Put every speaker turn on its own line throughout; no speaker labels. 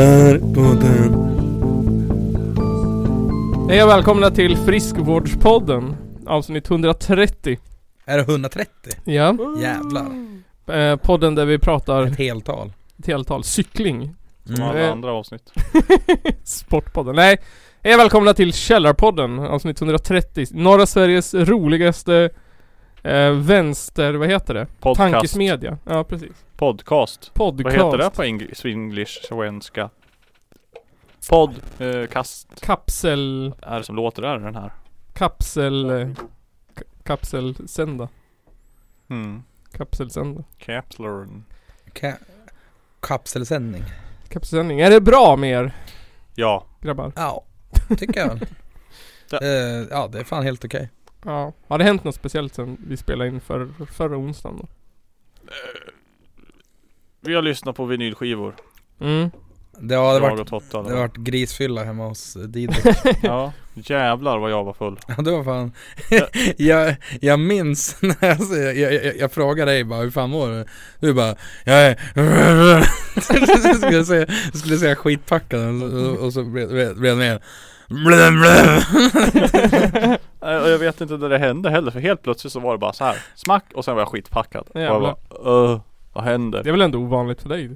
Gälarpodden.
Hej och välkomna till Friskvårdspodden Avsnitt 130
Är det 130?
Ja
Jävlar.
eh, Podden där vi pratar
Ett heltal.
ett heltal cykling Eh,
Som
Mm.
alla andra avsnitt.
Sportpodden, nej Hej och välkomna till Källarpodden Avsnitt 130 Norra Sveriges roligaste eh, Vänster, vad heter det?
Podcast.
Tankesmedja Ja precis
Podcast.
Podcast
Vad heter det på eng- swenglish, svenska? Podcast eh, kast
Kapsel
är det som låter där den här.
Kapsel eh, ka- Kapselsända
Mm.
Kapselsända
Capslern.
Ka- kapselsändning.
Kapselsändning, är det bra med er
Ja.
grabbar?
Ja, tycker jag väl.
Ja.
Eh, ja, det är fan helt okej.
Ja, har det hänt något speciellt sen vi spelade in för, förra onsdagen då?
Vi har lyssnat på vinylskivor.
Mm.
Det har det
jag
varit,
och Totta.
det har varit grisfylla hemma hos Didrik.
Ja. Jävlar vad jag var full.
Ja, det var fan. jag, jag minns när jag, jag, jag, jag frågade dig bara, hur fan mår du? Du bara, jag är... skulle, säga, skulle säga skitpackad och, så- och så blev blev- blev det mer...
Eh, och Jag vet inte när det hände heller för helt plötsligt så var det bara så här. Smack och sen var jag skitpackad. Och jag
Jävlar.
bara, uh, vad händer?
Det är väl ändå ovanligt för dig?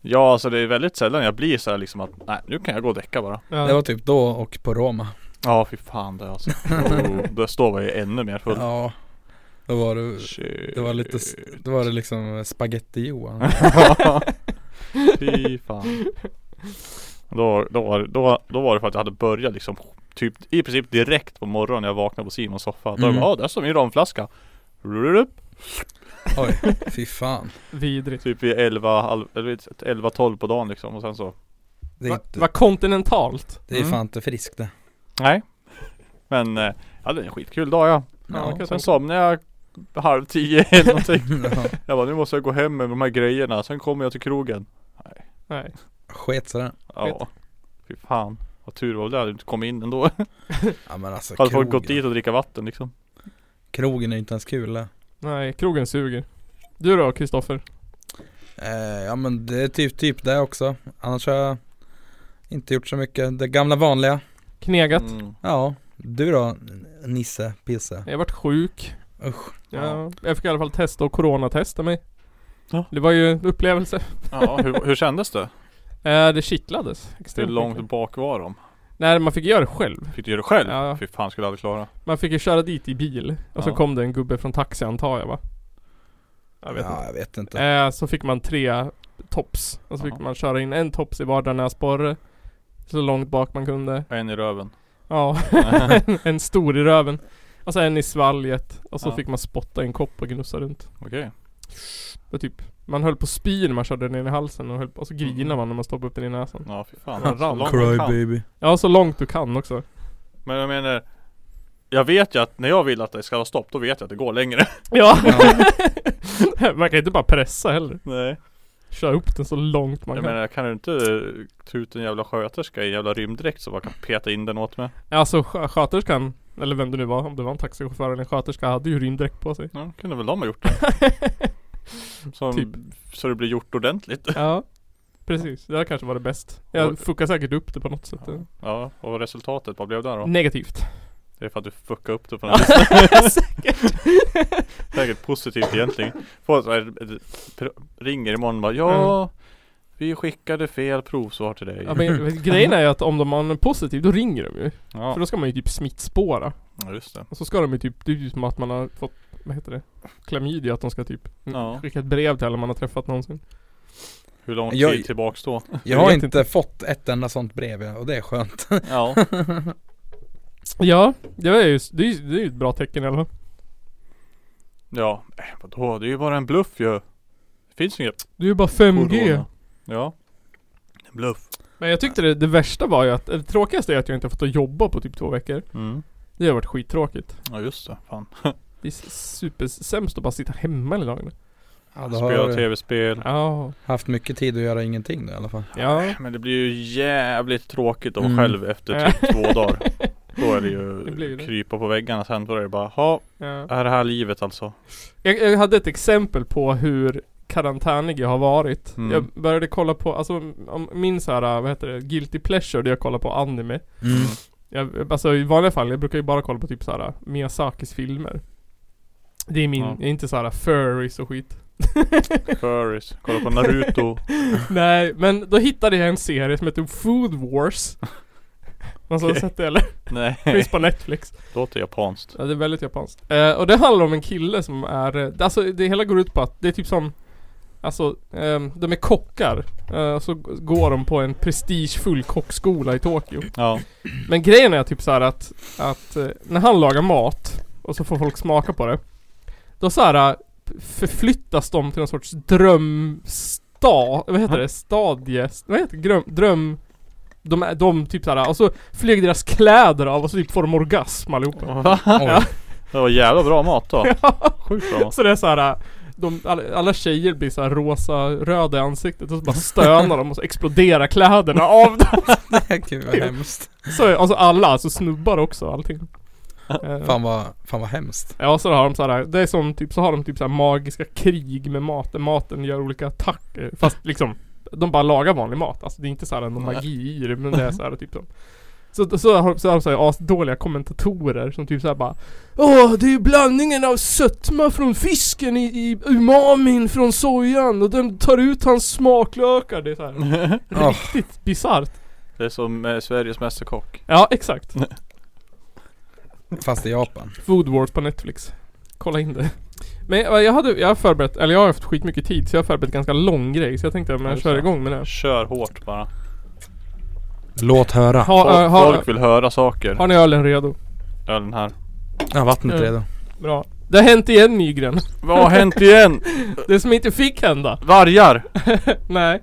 Ja alltså det är väldigt sällan jag blir så här liksom att nej nu kan jag gå och däcka bara.
Ja.
det var typ då och på Roma.
Ja fy fan det alltså. Oh, då står man ju ännu mer full.
Ja, då var du...
Shit.
Det var lite, s- då var det liksom spagetti-Johan.
Fy fan. Då, då, var, då, då var det för att jag hade börjat liksom typ i princip direkt på morgonen när jag vaknade på Simons soffa. Då
Mm.
bara, ah, där står min ramflaska. Rup.
Oj, fy fan.
Vidrigt.
Typ vid 11, halv- eller vid 11-12 på dagen liksom och sen så
Det är,
Va-
inte,
Vad kontinentalt.
det är fan inte friskt det.
Nej. Men eh, jag hade en skitkul dag ja.
Ja,
Ja.
okej.
Sen somnade jag halv tio eller någonting.
Ja,
Jag bara, nu måste jag gå hem med de här grejerna. Sen kommer jag till krogen.
Nej.
Sket sådär.
Ja. Fy fan. Vad tur var det att jag inte kom in ändå.
Ja men alltså
Hade folk
krogen,
gått dit och dricka vatten liksom.
krogen är inte ens kul det.
Nej, krogen suger. Du då Kristoffer?
Eh, ja men det är typ, typ det också. Annars har jag inte gjort så mycket. Det gamla vanliga.
Knegat?
Mm.
Ja, du då N- Nisse, Pisse?
Jag har varit sjuk.
Usch.
Ja. Jag fick i alla fall testa och coronatesta mig.
Ja.
Det var ju en upplevelse.
Ja, hur, hur kändes det?
Eh, det kittlades.
Hur
Extremt
långt
mycket.
bak var de?
Nej, man fick göra det själv.
Fick du göra det själv?
Ja.
Fy fan skulle jag aldrig klara.
Man fick ju köra dit i bil. Och så
Ja.
kom det en gubbe från taxi antar jag va? Jag vet inte.
ja, jag vet inte.
Eh, så fick man tre tops. Och så fick
Jaha.
man köra in en tops i vardera näsborre. Så långt bak man kunde.
En i röven.
Ja, en, en stor i röven. Och så en i svalget. Och så
Ja.
fick man spotta i en kopp och gnussa runt.
Okej.
Det typ, man höll på att spy när man körde den in i halsen och, höll, på- och så grinar
Mm.
man när man stoppar upp den i näsan.
Ja, fy fan.
Ja,
Så långt
Cry
man kan.
baby.
Ja, så långt du kan också.
Men jag menar. Jag vet ju att när jag vill att det ska vara stopp, då vet jag att det går längre.
Ja.
Ja.
man kan inte bara pressa heller.
Nej.
Köra upp den så långt man
Jag
kan.
menar, kan du inte eh, ta ut en jävla sköterska i en jävla rymddräkt så man kan peta in den åt mig?
Alltså skö- sköterskan, eller vem det nu var, om det var en taxichaufför eller en sköterska, hade ju rymddräkt på sig.
Ja, kunde väl de ha gjort det? Så,
Typ.
så det blir gjort ordentligt.
Ja, precis. Det här kanske var det bäst. Jag fuckade säkert upp det på något sätt.
Ja, och vad resultatet, vad blev det då?
Negativt.
Det är för att du fuckade upp det på något vis. Säkert positivt egentligen. Får så här, eh, pr- ringer imorgon och bara ja Vi skickade fel provsvar till dig.
ja, men, grejen är ju att om de har en positiv, då ringer de ju. För
Ja,
då ska man ju typ smittspåra.
ja just det.
Och så ska de ju typ, det är ju som att man har fått, vad heter det? Klamydia, att de ska typ
Ja.
skicka ett brev till alla man har träffat någonsin.
Hur lång tid
Jag-
tillbaks då?
Jag har
vet
inte,
inte.
fått ett enda sånt brev ja, och det är skönt.
Ja.
Ja, det är ju, det är ju det är ju ett bra tecken eller?
Ja, äh, vadå? Det är ju bara en bluff ju. Det finns ju inget
Det är ju bara 5G.
corona. Ja. En bluff.
Men jag tyckte det, det värsta var ju att, eller det tråkigaste är att jag inte fått att jobba på typ två veckor.
Mm.
Det har varit skittråkigt.
Ja just det. Fan.
Det är supersämst att bara sitta hemma hela dagarna.
Ja, då har
Spela
du
tv-spel.
Ja.
haft mycket tid att göra ingenting då i alla fall.
Ja.
Men det blir ju jävligt tråkigt att vara
Mm.
själv efter typ två dagar. Då är det ju
Det blir ju det.
krypa på väggarna sen då är det bara, ha
Ja.
är det här livet alltså?
Jag, jag hade ett exempel på hur karantänig jag har varit.
Mm.
Jag började kolla på, alltså om- min så här, vad heter det, guilty pleasure, det jag kollar på anime.
Mm.
Jag, alltså i vanliga fall, jag brukar ju bara kolla på typ så här Miyazakis filmer. Det är min,
Ja.
jag är inte så här furries och skit.
Furries, kolla på Naruto
Nej, men då hittade jag en serie som heter Food Wars. Någon som har
Okej.
sett det eller?
Nej,
Finns på Netflix.
låter japanskt
Ja, det är väldigt japanskt. Eh, och det handlar om en kille som är, eh, alltså det hela går ut på att det är typ som Alltså, ehm, de är kockar. Eh, så g- går de på en prestigefull kockskola i Tokyo.
Ja,
Men grejen är typ så här att, att eh, när han lagar mat och så får folk smaka på det. Då så här eh, förflyttas de till någon sorts drömstad, vad heter det? Stadie, vad heter det? Dröm, dröm de, är- de typ såhär, och så flyger deras kläder av och så typ får de orgasm allihopa.
va?
Oj.
Det var jävla bra mat då Sjukt bra mat
Så det är så här. äh, De, alla, alla tjejer blir så här rosa, röda i ansiktet och så bara stönar de och så exploderar kläderna av dem.
Gud vad hemskt.
Så, är- alltså alla, alltså snubbar också allting. Eh,
Fan vad, fan vad hemskt.
Ja, så har de så här, det är som typ, så har de typ så här magiska krig med maten. Maten gör olika attacker. Fast liksom, de bara lagar vanlig mat. Alltså det är inte så här någon
Nej.
magi i det, men det är så här typ som så, så har så har de så här asdåliga kommentatorer som typ såhär bara Åh, det är ju blandningen av sötma från fisken i, i umamin från sojan och den tar ut hans smaklökar. Det är så här
Åh.
riktigt bisarrt.
Det är som eh, Sveriges mästerkock
Ja, exakt.
Fast i Japan.
Food Wars på Netflix. Kolla in det. Men jag, jag hade, jag har förberett, eller jag har haft skitmycket tid så jag har förberett ganska lång grej så jag tänkte att
Ja,
jag
det
kör
är så.
igång med det.
Kör hårt bara
Låt höra.
Ha,
Folk,
ö, ha,
folk vill höra saker
eh, har ni ölen redo?
Ölen här
Ja, vattnet
Mm.
redo.
Bra. Det har hänt igen Nygren.
Vad har hänt igen?
Det som inte fick hända.
Vargar!
Nej.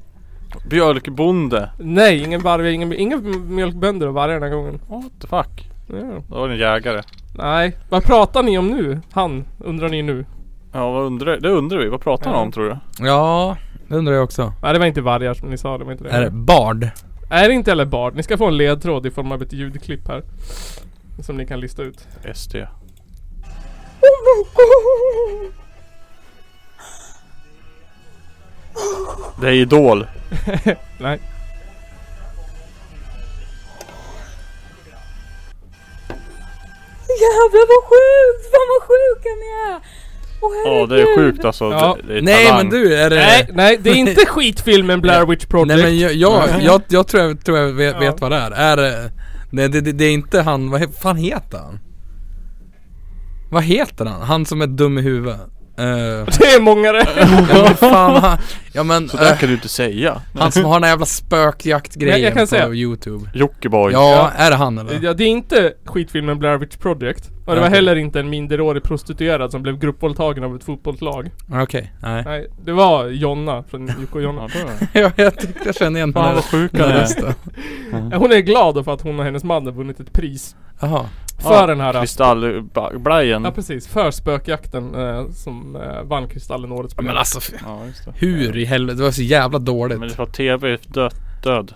Björkbonde
Nej, ingen varg, ingen, inga mjölkbönder och vargar den här gången.
What the fuck?
Ja.
Det var en jägare
Nej. Vad pratar ni om nu? Han, undrar ni nu.
Ja vad undrar, det undrar vi, vad pratar han om tror du?
Ja, det undrar jag också.
Nej det var inte vargar som ni sa, det var inte det.
Är det Bard?
Nej det är inte heller barn. Ni ska få en ledtråd i form av ett ljudklipp här. Som ni kan lista ut.
SD Det är Idol
Nej.
Jävlar vad sjukt! Fan vad sjuka ni är! Åh
Ja
herregud!
det är sjukt alltså
Ja.
det, det är
Nej
talang.
men du, är det...
Nej, nej det är inte skitfilmen Blair Witch Project.
Eh. Nej men jag, jag, jag, jag tror jag, tror jag vet,
Ja.
vet vad det är. Är det... Nej det, det, det är inte han, vad he- fan heter han? Vad heter han? Han som är dum i huvudet. Eh,
Det är många det.
ja men fan han, Ja men,
Så där
eh,
kan du inte säga
han som har den här jävla
Men jag
spökjaktgrejen
kan
på
säga-
youtube.
Jockiboi
Ja, är det han eller?
Ja, det är inte skitfilmen Blair Witch Project. Och det var
Okej.
heller inte en minderårig prostituerad som blev gruppvåldtagen av ett fotbollslag.
Okej, nej.
Nej, det var Jonna från Jocke och Jonna.
Ja, det är-
Ja, jag tyckte jag kände igen den
Fan
här
vad sjuka
den
ni
här
är
rösten. Mm.
Hon är glad för att hon och hennes man har vunnit ett pris.
Jaha.
För
Ja,
den här...
Kristallblajen
Ja precis, för spökjakten eh, som eh, vann Kristallen årets
Ja,
program.
Men alltså, f-
Ja, just det.
hur i helvete? Det var så jävla dåligt.
Men det var tv död, död.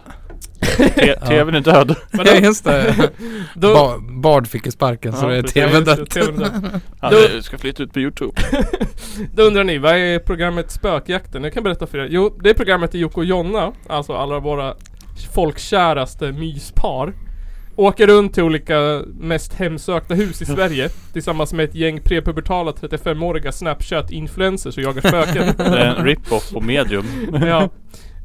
T- TVn är död.
Men
Ja
då,
just det.
då,
Ba Bard fick ju sparken så
Ja,
det är
precis.
tv
Ja,
dött.
TVn dött.
Ja,
Då-
det ska flytta ut på Youtube.
Då undrar ni, vad är programmet Spökjakten? Jag kan berätta för er. Jo, det är programmet i Jocke och Jonna, alltså alla våra folkkäraste myspar. Åker runt till olika mest hemsökta hus i Sverige tillsammans med ett gäng prepubertala 35-åriga Snapchat-influencers och jagar spöken.
Det är en rip-off på medium.
ja.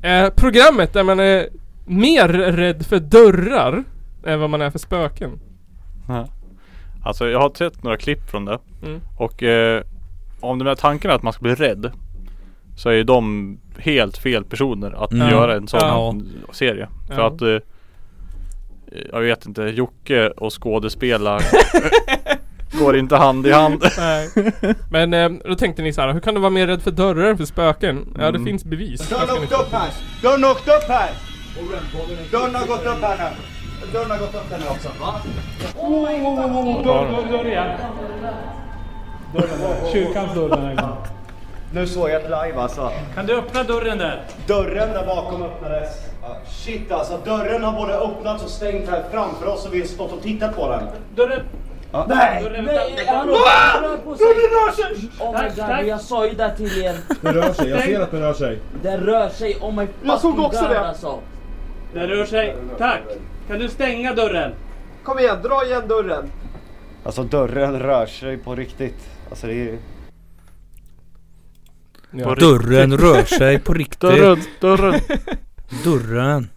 eh, programmet där man är mer rädd för dörrar än vad man är för spöken.
Alltså jag har sett några klipp från det.
Mm.
Och eh, om den här tanken är att man ska bli rädd. Så är ju de helt fel personer att
Mm.
göra en sån
Ja.
serie. För
Ja.
att eh, jag vet inte, Jocke och skådespela går inte hand i hand.
Nej. Men eh, då tänkte ni så här, hur kan du vara mer rädd för dörrar än för spöken? Ja, det
Mm.
finns bevis.
Dörren har åkt upp här! Dörren har åkt upp här! Dörren har gått upp här nu! Dörren har gått upp här nu också.
Kyrkans dörrar.
Nu såg jag ett live alltså.
Kan du öppna dörren där?
Dörren där bakom öppnades. Ja. Ja, Shit alltså, dörren har både öppnats och stängt här framför oss och vi har stått och tittat på den.
Dörren!
Ja. Nej!
Dörren!
Nej,
Vänta!
han rör på sig!
rör sig!
Oh my
Tack, tack.
god, jag sa ju det till er.
Den rör sig, jag ser att den rör sig.
Den rör sig, oh my fucking
Jag såg också
god
det.
alltså.
Den rör sig. Tack! Kan du stänga dörren?
Kom igen, dra igen dörren.
Alltså dörren rör sig på riktigt. Alltså det är...
Ja.
Dörren rör sig på riktigt.
Dörren, dörren.
Dörren.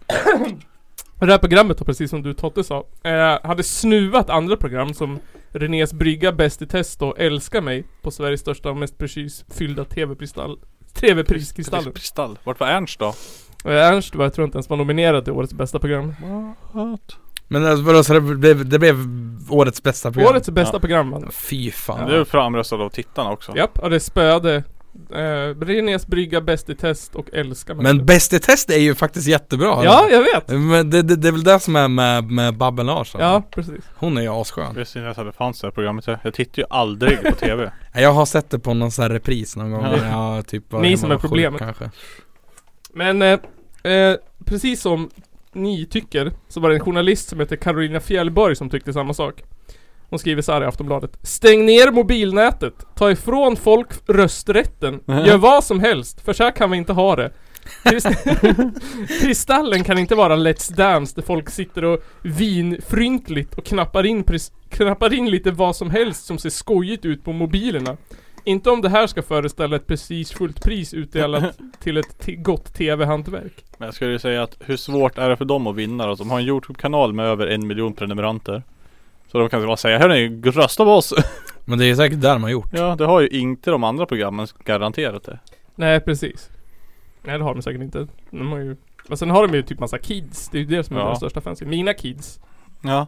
Och Det här programmet då, precis som du Totte sa, eh, hade snuvat andra program som Renés brygga, Bäst i test och Älska mig på Sveriges största och mest precis fyllda TV-pristall. TV-priskristallen.
Kristall. Vart var Ernst då?
Eh, Ernst var, jag tror inte ens var nominerad till årets bästa program.
Men alltså, vadå, så det blev, det blev årets bästa program?
Årets bästa program vann.
Fy fan.
Det är framröstad av tittarna också.
Japp, och det spöade eh, Renés brygga, Bäst i test och Älska mig.
Men Bäst i test är ju faktiskt jättebra.
Ja, jag vet!
Men det, det, det är väl det som är med, med Babben Larsson?
Ja, precis.
Hon är ju asskön.
Visste inte ens att det fanns det här programmet. Jag jag tittar ju aldrig på TV.
Jag har sett det på någon sån här repris någon gång.
Ja.
Ja, typ var
Ni
hemma
som är
sjuk
problemet.
Kanske.
Men eh, eh, precis som ni tycker så var det en journalist som heter Carolina Fjällborg som tyckte samma sak. Hon skriver så här i Aftonbladet. Stäng ner mobilnätet. Ta ifrån folk rösträtten. Gör vad som helst. För så här kan vi inte ha det. Krist- Kristallen kan inte vara Let's Dance där folk sitter och vinfrynkligt och knappar in, pres- knappar in lite vad som helst som ser skojigt ut på mobilerna. Inte om det här ska föreställa ett precis fullt pris utdelat till ett t- gott TV-hantverk.
Men jag skulle ju säga att hur svårt är det för dem att vinna då? De har en Youtube-kanal med över en miljon prenumeranter. Så de kan bara säga hörni, rösta på oss!
Men det är säkert där man har gjort.
Ja, det har ju inte de andra programmen garanterat det.
Nej, precis. Nej, det har de säkert inte. De har ju... Och sen har de ju typ massa kids. Det är ju det som är
Ja.
de största fansen. Mina kids.
Ja.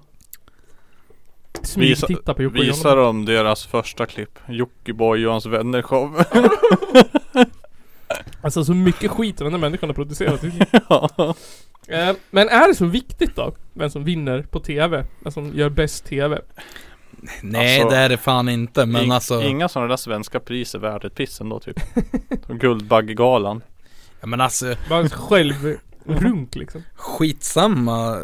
Visa-
Smygtitta på Jocke och
Visar
Jonna.
de deras första klipp. Jockiboi och hans vänner show.
Alltså så mycket skit den här människan har producerat. Eh, Men är det så viktigt då? Vem som vinner på TV? Vem som gör bäst TV?
Nej
Alltså,
det är det fan inte men
Ing-
alltså
Inga sådana där svenska priser värd ett piss ändå typ. Som Guldbaggegalan.
ja, Men alltså
Bara en självrunk liksom.
skitsamma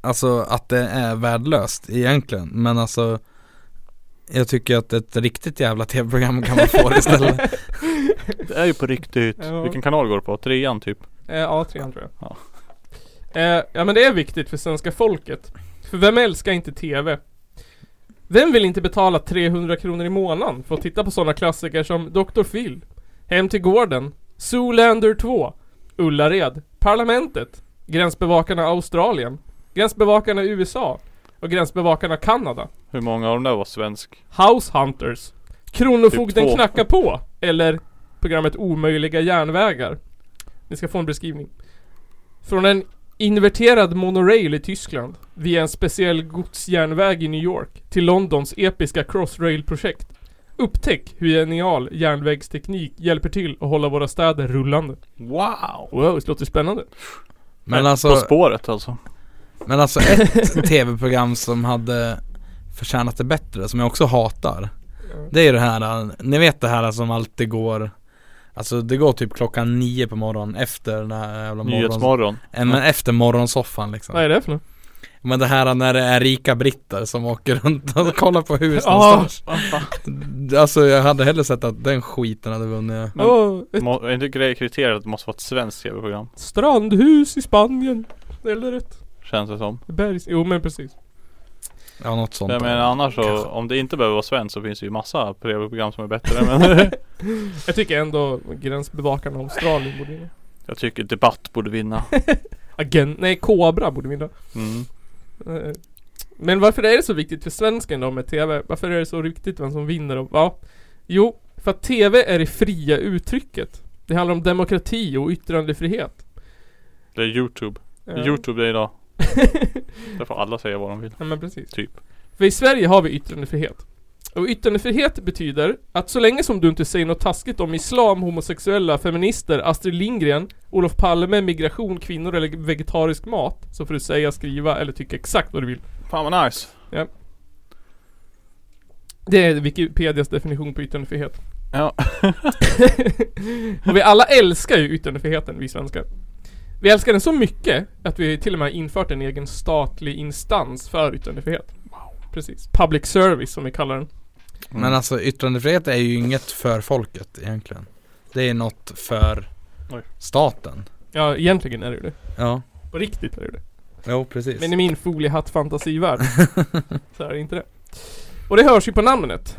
Alltså att det är värdelöst egentligen men alltså Jag tycker att ett riktigt jävla tv-program kan man få det istället
Det är ju på riktigt.
Ja.
Vilken kanal går det på? Trean typ.
Eh, A3 tror jag.
Ja.
Eh, ja men det är viktigt för svenska folket. För vem älskar inte TV? Vem vill inte betala 300 kronor i månaden för att titta på sådana klassiker som Dr. Phil, Hem till gården, Zoolander 2, Ullared, Parlamentet, Gränsbevakarna Australien, Gränsbevakarna USA och Gränsbevakarna Kanada.
Hur många av dem där var svensk?
House Hunters Kronofogden
Typ två.
knackar på Eller programmet Omöjliga järnvägar Ni ska få en beskrivning Från en inverterad monorail i Tyskland Via en speciell godsjärnväg i New York Till Londons episka crossrail-projekt Upptäck hur genial järnvägsteknik hjälper till att hålla våra städer rullande
Wow!
Wow, det låter spännande
Men
På
alltså,
spåret alltså.
men alltså ett tv-program som hade förtjänat det bättre som jag också hatar Det är ju det här, äh, ni vet det här som alltid går Alltså det går typ klockan nio på morgonen efter den här jävla morgon,
Nyhetsmorgon.
äh, men efter morgonsoffan liksom
Vad är det för något?
Men det här när det är rika britter som åker runt och kollar på hus
Ja.
någonstans Alltså jag hade hellre sett att den skiten hade vunnit
Men-
Åh, ett
Må- Är inte grej- kriteriet att det måste vara ett svenskt tv-program?
strandhus i Spanien Eller ett
Känns det som.
bergs... Jo men precis
Ja något sånt
Jag
där.
menar annars så,
Kanske.
om det inte behöver vara svenskt så finns det ju massa tv-program som är bättre men
Jag tycker ändå gränsbevakarna Australien borde vinna.
Jag tycker Debatt borde vinna.
Agent, nej Kobra borde vinna.
Mm.
Eh, Men varför är det så viktigt för svensken då med TV? Varför är det så viktigt vem som vinner? Och, ja. Jo, för att TV är det fria uttrycket. Det handlar om demokrati och yttrandefrihet.
Det är Youtube.
Eh,
Youtube det är idag. Där får alla säga vad de vill.
Ja men precis.
Typ.
För i Sverige har vi yttrandefrihet. Och yttrandefrihet betyder att så länge som du inte säger något taskigt om islam, homosexuella, feminister, Astrid Lindgren, Olof Palme, migration, kvinnor eller vegetarisk mat så får du säga, skriva eller tycka exakt vad du vill.
Fan vad nice.
Det är Wikipedias definition på yttrandefrihet.
Ja.
Och vi alla älskar ju yttrandefriheten, vi svenskar. Vi älskar den så mycket att vi till och med har infört en egen statlig instans för yttrandefrihet. Precis. Public service som vi kallar den.
Mm.
Men alltså yttrandefrihet är ju inget för folket egentligen. Det är något för
Oj.
staten.
Ja, egentligen är det ju det.
Ja,
På riktigt är det ju det.
jo precis.
Men i min foliehatt-fantasivärld så är det inte det. Och det hörs ju på namnet.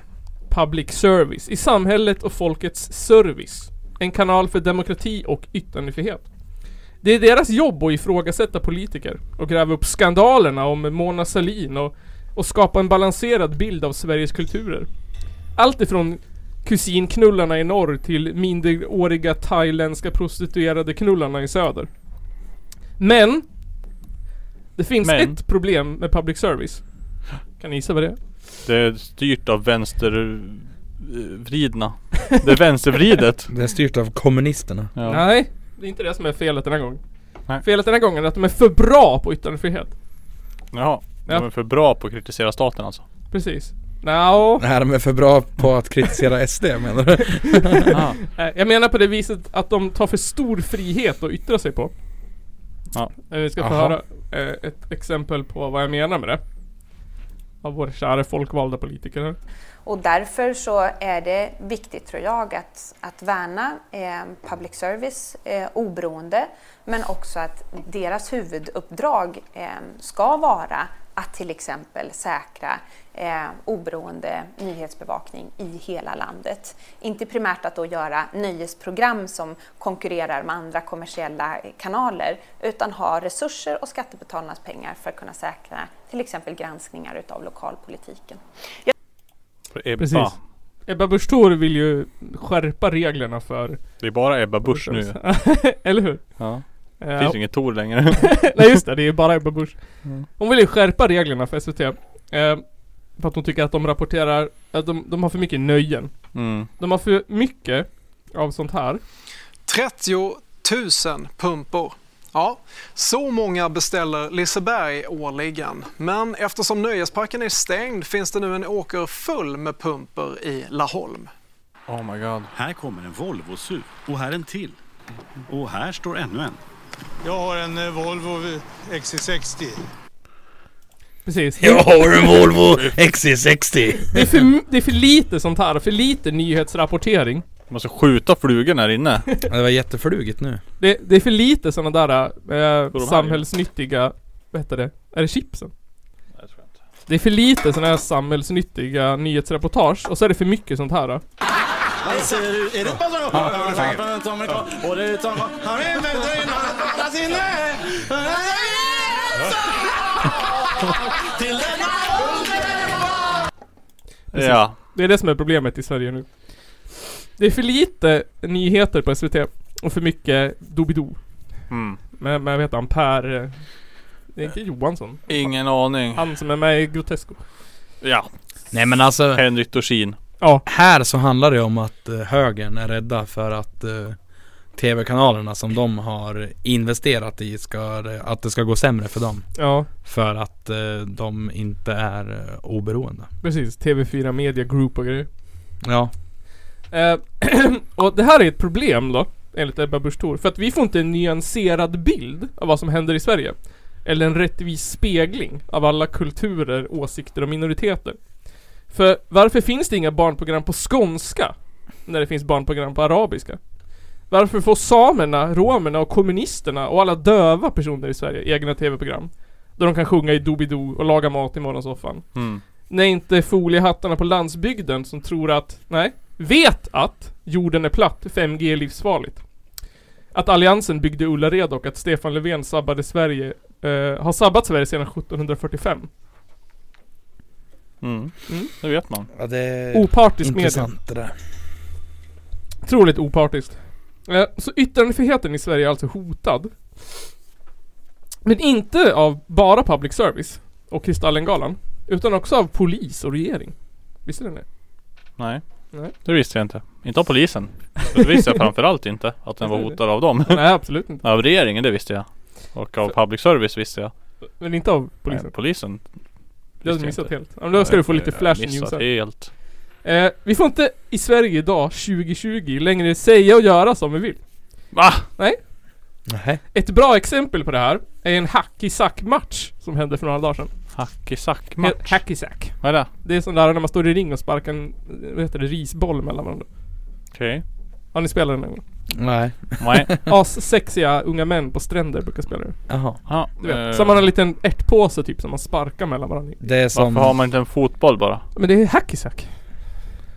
Public service. I samhället och folkets service. En kanal för demokrati och yttrandefrihet. Det är deras jobb att ifrågasätta politiker och gräva upp skandalerna om Mona Sahlin och, och skapa en balanserad bild av Sveriges kulturer. Allt ifrån kusinknullarna i norr till minderåriga thailändska prostituerade knullarna i söder. Men det finns
Men.
ett problem med public service. Kan ni gissa vad det är?
Det är styrt av vänstervridna Det är vänstervridet
Det är styrt av kommunisterna.
ja.
Nej, det är inte det som är felet den här gången.
Nej.
Felet den här gången är att de är för bra på yttrandefrihet.
Jaha, de
Ja.
är för bra på att kritisera staten alltså
Precis. Nja,
Nej, de är för bra på att kritisera SD menar du?
ah.
eh, jag menar på det viset att de tar för stor frihet att yttra sig på.
Ja.
Eh, Vi ska få
Aha.
höra eh, ett exempel på vad jag menar med det. Av vår kära folkvalda politiker här.
Och därför så är det viktigt, tror jag, att, att värna eh, public service eh, oberoende, men också att deras huvuduppdrag eh, ska vara att till exempel säkra eh, oberoende nyhetsbevakning i hela landet. Inte primärt att då göra nöjesprogram som konkurrerar med andra kommersiella kanaler, utan ha resurser och skattebetalarnas pengar för att kunna säkra till exempel granskningar utav lokalpolitiken.
Ebba.
Precis. Ebba Busch Thor vill ju skärpa reglerna för...
Det är bara Ebba Busch nu
Eller hur?
ja.
Eh,
Finns inget Tor längre
Nej just det, det är ju bara Ebba Busch. Hon vill ju skärpa reglerna för SVT. Eh, för att hon tycker att de rapporterar, att de, de har för mycket nöjen.
mm.
De har för mycket av sånt här.
30 000 pumpor. Ja, så många beställer Liseberg årligen. Men eftersom nöjesparken är stängd finns det nu en åker full med pumpor i Laholm.
Oh my god
Här kommer en Volvo-SUV och här en till. Och här står ännu en.
Jag har en eh, Volvo XC60.
Precis.
Jag har
en Volvo XC60.
Det är för, m- det är för lite sånt här, för lite nyhetsrapportering.
Måste skjuta flugan här inne
Det var jättefluget nu.
Det, det är för lite såna där
här
eh,
ju.
samhällsnyttiga, vad heter det? Är det chipsen? Det är för lite såna här samhällsnyttiga nyhetsreportage och så är det för mycket sånt här. Då. Precis.
Ja
Det är det som är problemet i Sverige nu. Det är för lite nyheter på SVT och för mycket Doobidoo.
mm.
Med, med vad heter han? Per... eh, Det är inte Johansson.
Ingen aning
Han som är med i Grotesco.
Ja
Nej men alltså,
Henrik Dorsin
Ja,
här så handlar det om att eh, högern är rädda för att eh, TV-kanalerna som de har investerat i ska, att det ska gå sämre för dem.
ja.
För att eh, de inte är eh, oberoende.
Precis. TV4 Media Group och grejer.
Ja,
Eh, och det här är ett problem då, enligt Ebba Busch Thor. För att vi får inte en nyanserad bild av vad som händer i Sverige. Eller en rättvis spegling av alla kulturer, åsikter och minoriteter. För varför finns det inga barnprogram på skånska? När det finns barnprogram på arabiska? Varför får samerna, romerna och kommunisterna och alla döva personer i Sverige egna TV-program? Där de kan sjunga i Doobidoo och laga mat i morgonsoffan.
mm.
Nej, inte foliehattarna på landsbygden som tror att, nej, vet att jorden är platt, 5G är livsfarligt. Att alliansen byggde Ullared och att Stefan Löfven sabbade Sverige, eh, har sabbat Sverige sedan 1745.
Mm.
Mm.
Det vet man
ja det är
Opartisk media.
intressant det där.
Otroligt opartiskt. Eh, så yttrandefriheten i Sverige är alltså hotad. Men inte av bara public service och Kristallengalan, utan också av polis och regering. Visste ni det?
Nej.
Nej.
Det visste jag inte. Inte av polisen. Det visste jag framförallt inte. Att den var hotad av dem.
Nej, absolut inte.
Av regeringen, det visste jag. Och av public service visste jag.
Men inte av polisen.
Nej, polisen.
Jag hade
visste
missat
inte.
helt. Ja, men då ska du få lite
Jag
flash news
missat
här.
helt.
Eh, vi får inte i Sverige idag, 2020, längre säga och göra som vi vill.
Va?
Nej. Ett bra exempel på det här är en hack-i-sack-match som hände för några dagar sedan. Eh,
Hack-i-sack-match?
Hack-i-sack.
Vad är det?
Det är sån där när man står i ring och sparkar en, vad heter det, risboll mellan varandra.
Okej.
Har ni spelat den någon gång?
Nej.
Nej.
Assexiga unga män på stränder brukar spela det.
Jaha.
Ja,
Du vet,
eh.
så man har en liten ärtpåse typ som man sparkar mellan varandra.
Det är som...
Varför har man inte en fotboll bara?
Men det är hack-i-sack.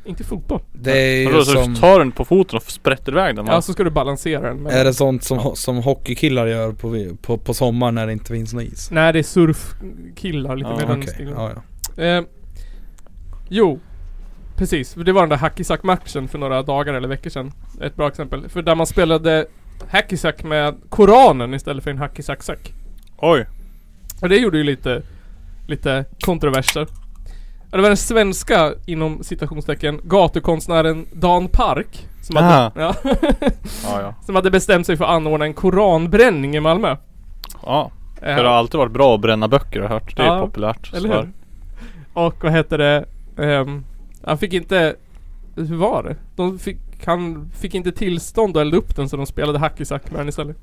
Inte fotboll.
Det är ju
Vadå, så
som...
tar den på foten och sprätter iväg den va?
Ja, så ska du balansera den.
Är det sånt som, ho- som hockeykillar gör på, på, på sommaren när det inte finns någon is?
Nej, det är surfkillar lite
Ja,
mer den
okej.
stilen.
Ja,
Eh, jo, precis. För Det var den där hackisack-matchen för några dagar eller veckor sedan. Ett bra exempel. För där man spelade hackisack med Koranen istället för en hackisack-sack.
Oj.
Och det gjorde ju lite, lite kontroverser. Ja, Det var den svenska, inom citationstecken, gatukonstnären Dan Park. Som
Ah.
hade, ja,
Ja, ja.
som hade bestämt sig för att anordna en koranbränning i Malmö.
Ja. För
Eh,
det har alltid varit bra att bränna böcker har jag hört. Det är
Ja,
populärt.
Eller
sådär.
hur? Och vad heter det? Ehm, han fick inte... Hur var det? De fick, han fick inte tillstånd att elda upp den så de spelade hack i sack med den istället.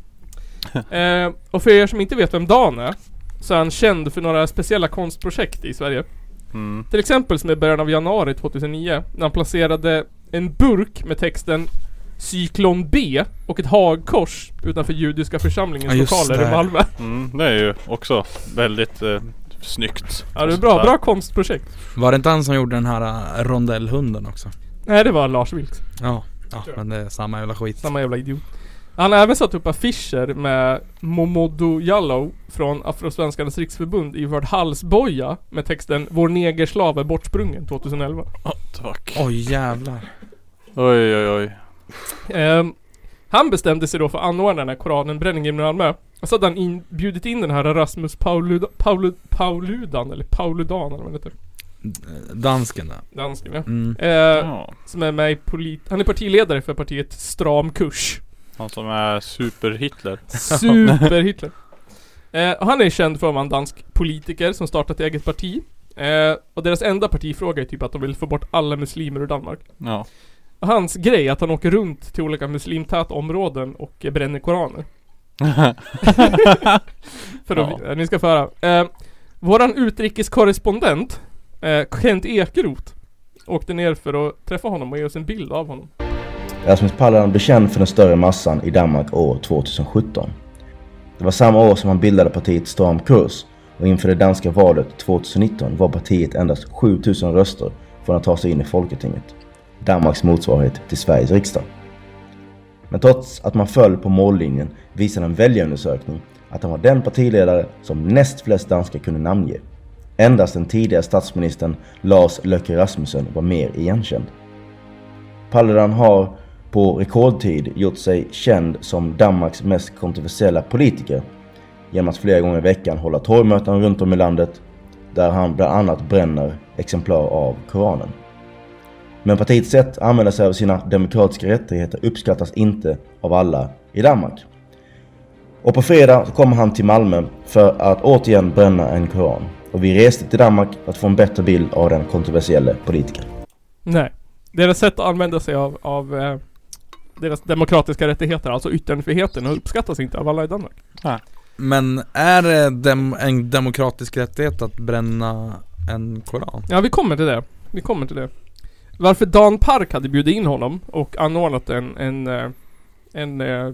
Ehm, och för er som inte vet vem Dan är så är han känd för några speciella konstprojekt i Sverige.
Mm.
Till exempel som i början av januari 2009 när han placerade en burk med texten Cyklon B och ett hagkors utanför judiska församlingens
Ja, just
lokaler i
det.
Malmö.
Mm, det är ju också väldigt eh, snyggt.
Ja det är bra, bra konstprojekt.
Var det inte han som gjorde den här äh, rondellhunden också?
Nej det var Lars Vilks.
Ja, ja men det är samma jävla skit.
Samma jävla idiot. Han har även satt upp affischer med Momodou Jallow från Afrosvenskarnas riksförbund i Vardhalsboja med texten Vår negerslav är bortsprungen 2011.
Tack.
Oj jävlar.
Oj oj oj.
Ehm, han bestämde sig då för att anordna den här koranenbränningen i Malmö. Och så hade han in, bjudit in den här Rasmus Pauluda, Paulu, Pauludan, eller Pauludan eller vad det heter.
Dansken där.
Dansken ja.
Mm.
Ehm,
Ja.
Som är med i polit... Han är partiledare för partiet Stram Kurs.
Han som är super-Hitler.
Super-Hitler. Eh, och han är känd för att vara en dansk politiker som startat eget parti. Eh, och deras enda partifråga är typ att de vill få bort alla muslimer ur Danmark.
Ja.
Och hans grej är att han åker runt till olika muslimtäta områden och eh, bränner koraner. för att, eh, Ni ska få höra. Eh, våran utrikeskorrespondent, eh, Kent Ekeroth, åkte ner för att träffa honom och ge oss en bild av honom.
Rasmus Paludan blev känd för den större massan i Danmark år 2017. Det var samma år som han bildade partiet Stram kurs och inför det danska valet 2019 var partiet endast 7000 röster från att ta sig in i Folketinget, Danmarks motsvarighet till Sveriges riksdag. Men trots att man föll på mållinjen visade en väljarundersökning att han var den partiledare som näst flest danskar kunde namnge. Endast den tidigare statsministern Lars Løkke Rasmussen var mer igenkänd. Paludan har på rekordtid gjort sig känd som Danmarks mest kontroversiella politiker genom att flera gånger i veckan hålla torgmöten runt om i landet där han bland annat bränner exemplar av Koranen. Men partiets sätt att använda sig av sina demokratiska rättigheter uppskattas inte av alla i Danmark. Och på fredag så kommer han till Malmö för att återigen bränna en koran. Och vi reste till Danmark för att få en bättre bild av den kontroversiella politikern.
Nej. Deras sätt att använda sig av, av eh, deras demokratiska rättigheter, alltså yttrandefriheten, uppskattas inte av alla i Danmark.
Men är det dem, en demokratisk rättighet att bränna en koran?
Ja, vi kommer till det. Vi kommer till det. Varför Dan Park hade bjudit in honom och anordnat en, en, eh, en, eh,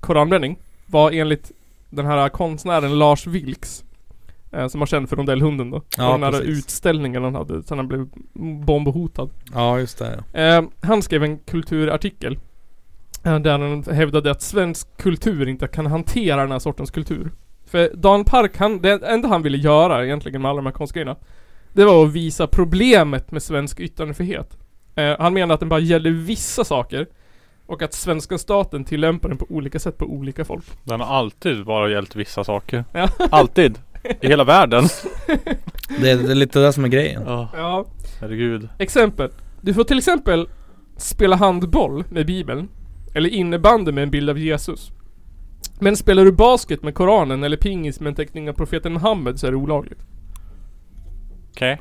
koranbränning var enligt den här konstnären Lars Vilks. eh, Som var känd för rondellhunden då.
Ja,
och den här
precis.
utställningen han hade sen han blev bombhotad.
Ja just det.
Eh, han skrev en kulturartikel. eh, Där han hävdade att svensk kultur inte kan hantera den här sortens kultur. För Dan Park, han, det enda han ville göra egentligen med alla de här konstgrejerna. Det var att visa problemet med svensk yttrandefrihet. Eh, han menar att den bara gäller vissa saker. Och att svenska staten tillämpar den på olika sätt på olika folk.
Den har alltid bara gällt vissa saker.
Ja.
Alltid. I hela världen.
Det, det är lite det som är grejen.
Ja.
Ja.
Herregud.
Exempel. Du får till exempel spela handboll med Bibeln. Eller innebandy med en bild av Jesus. Men spelar du basket med Koranen eller pingis med en teckning av profeten Muhammed så är det olagligt.
Okej.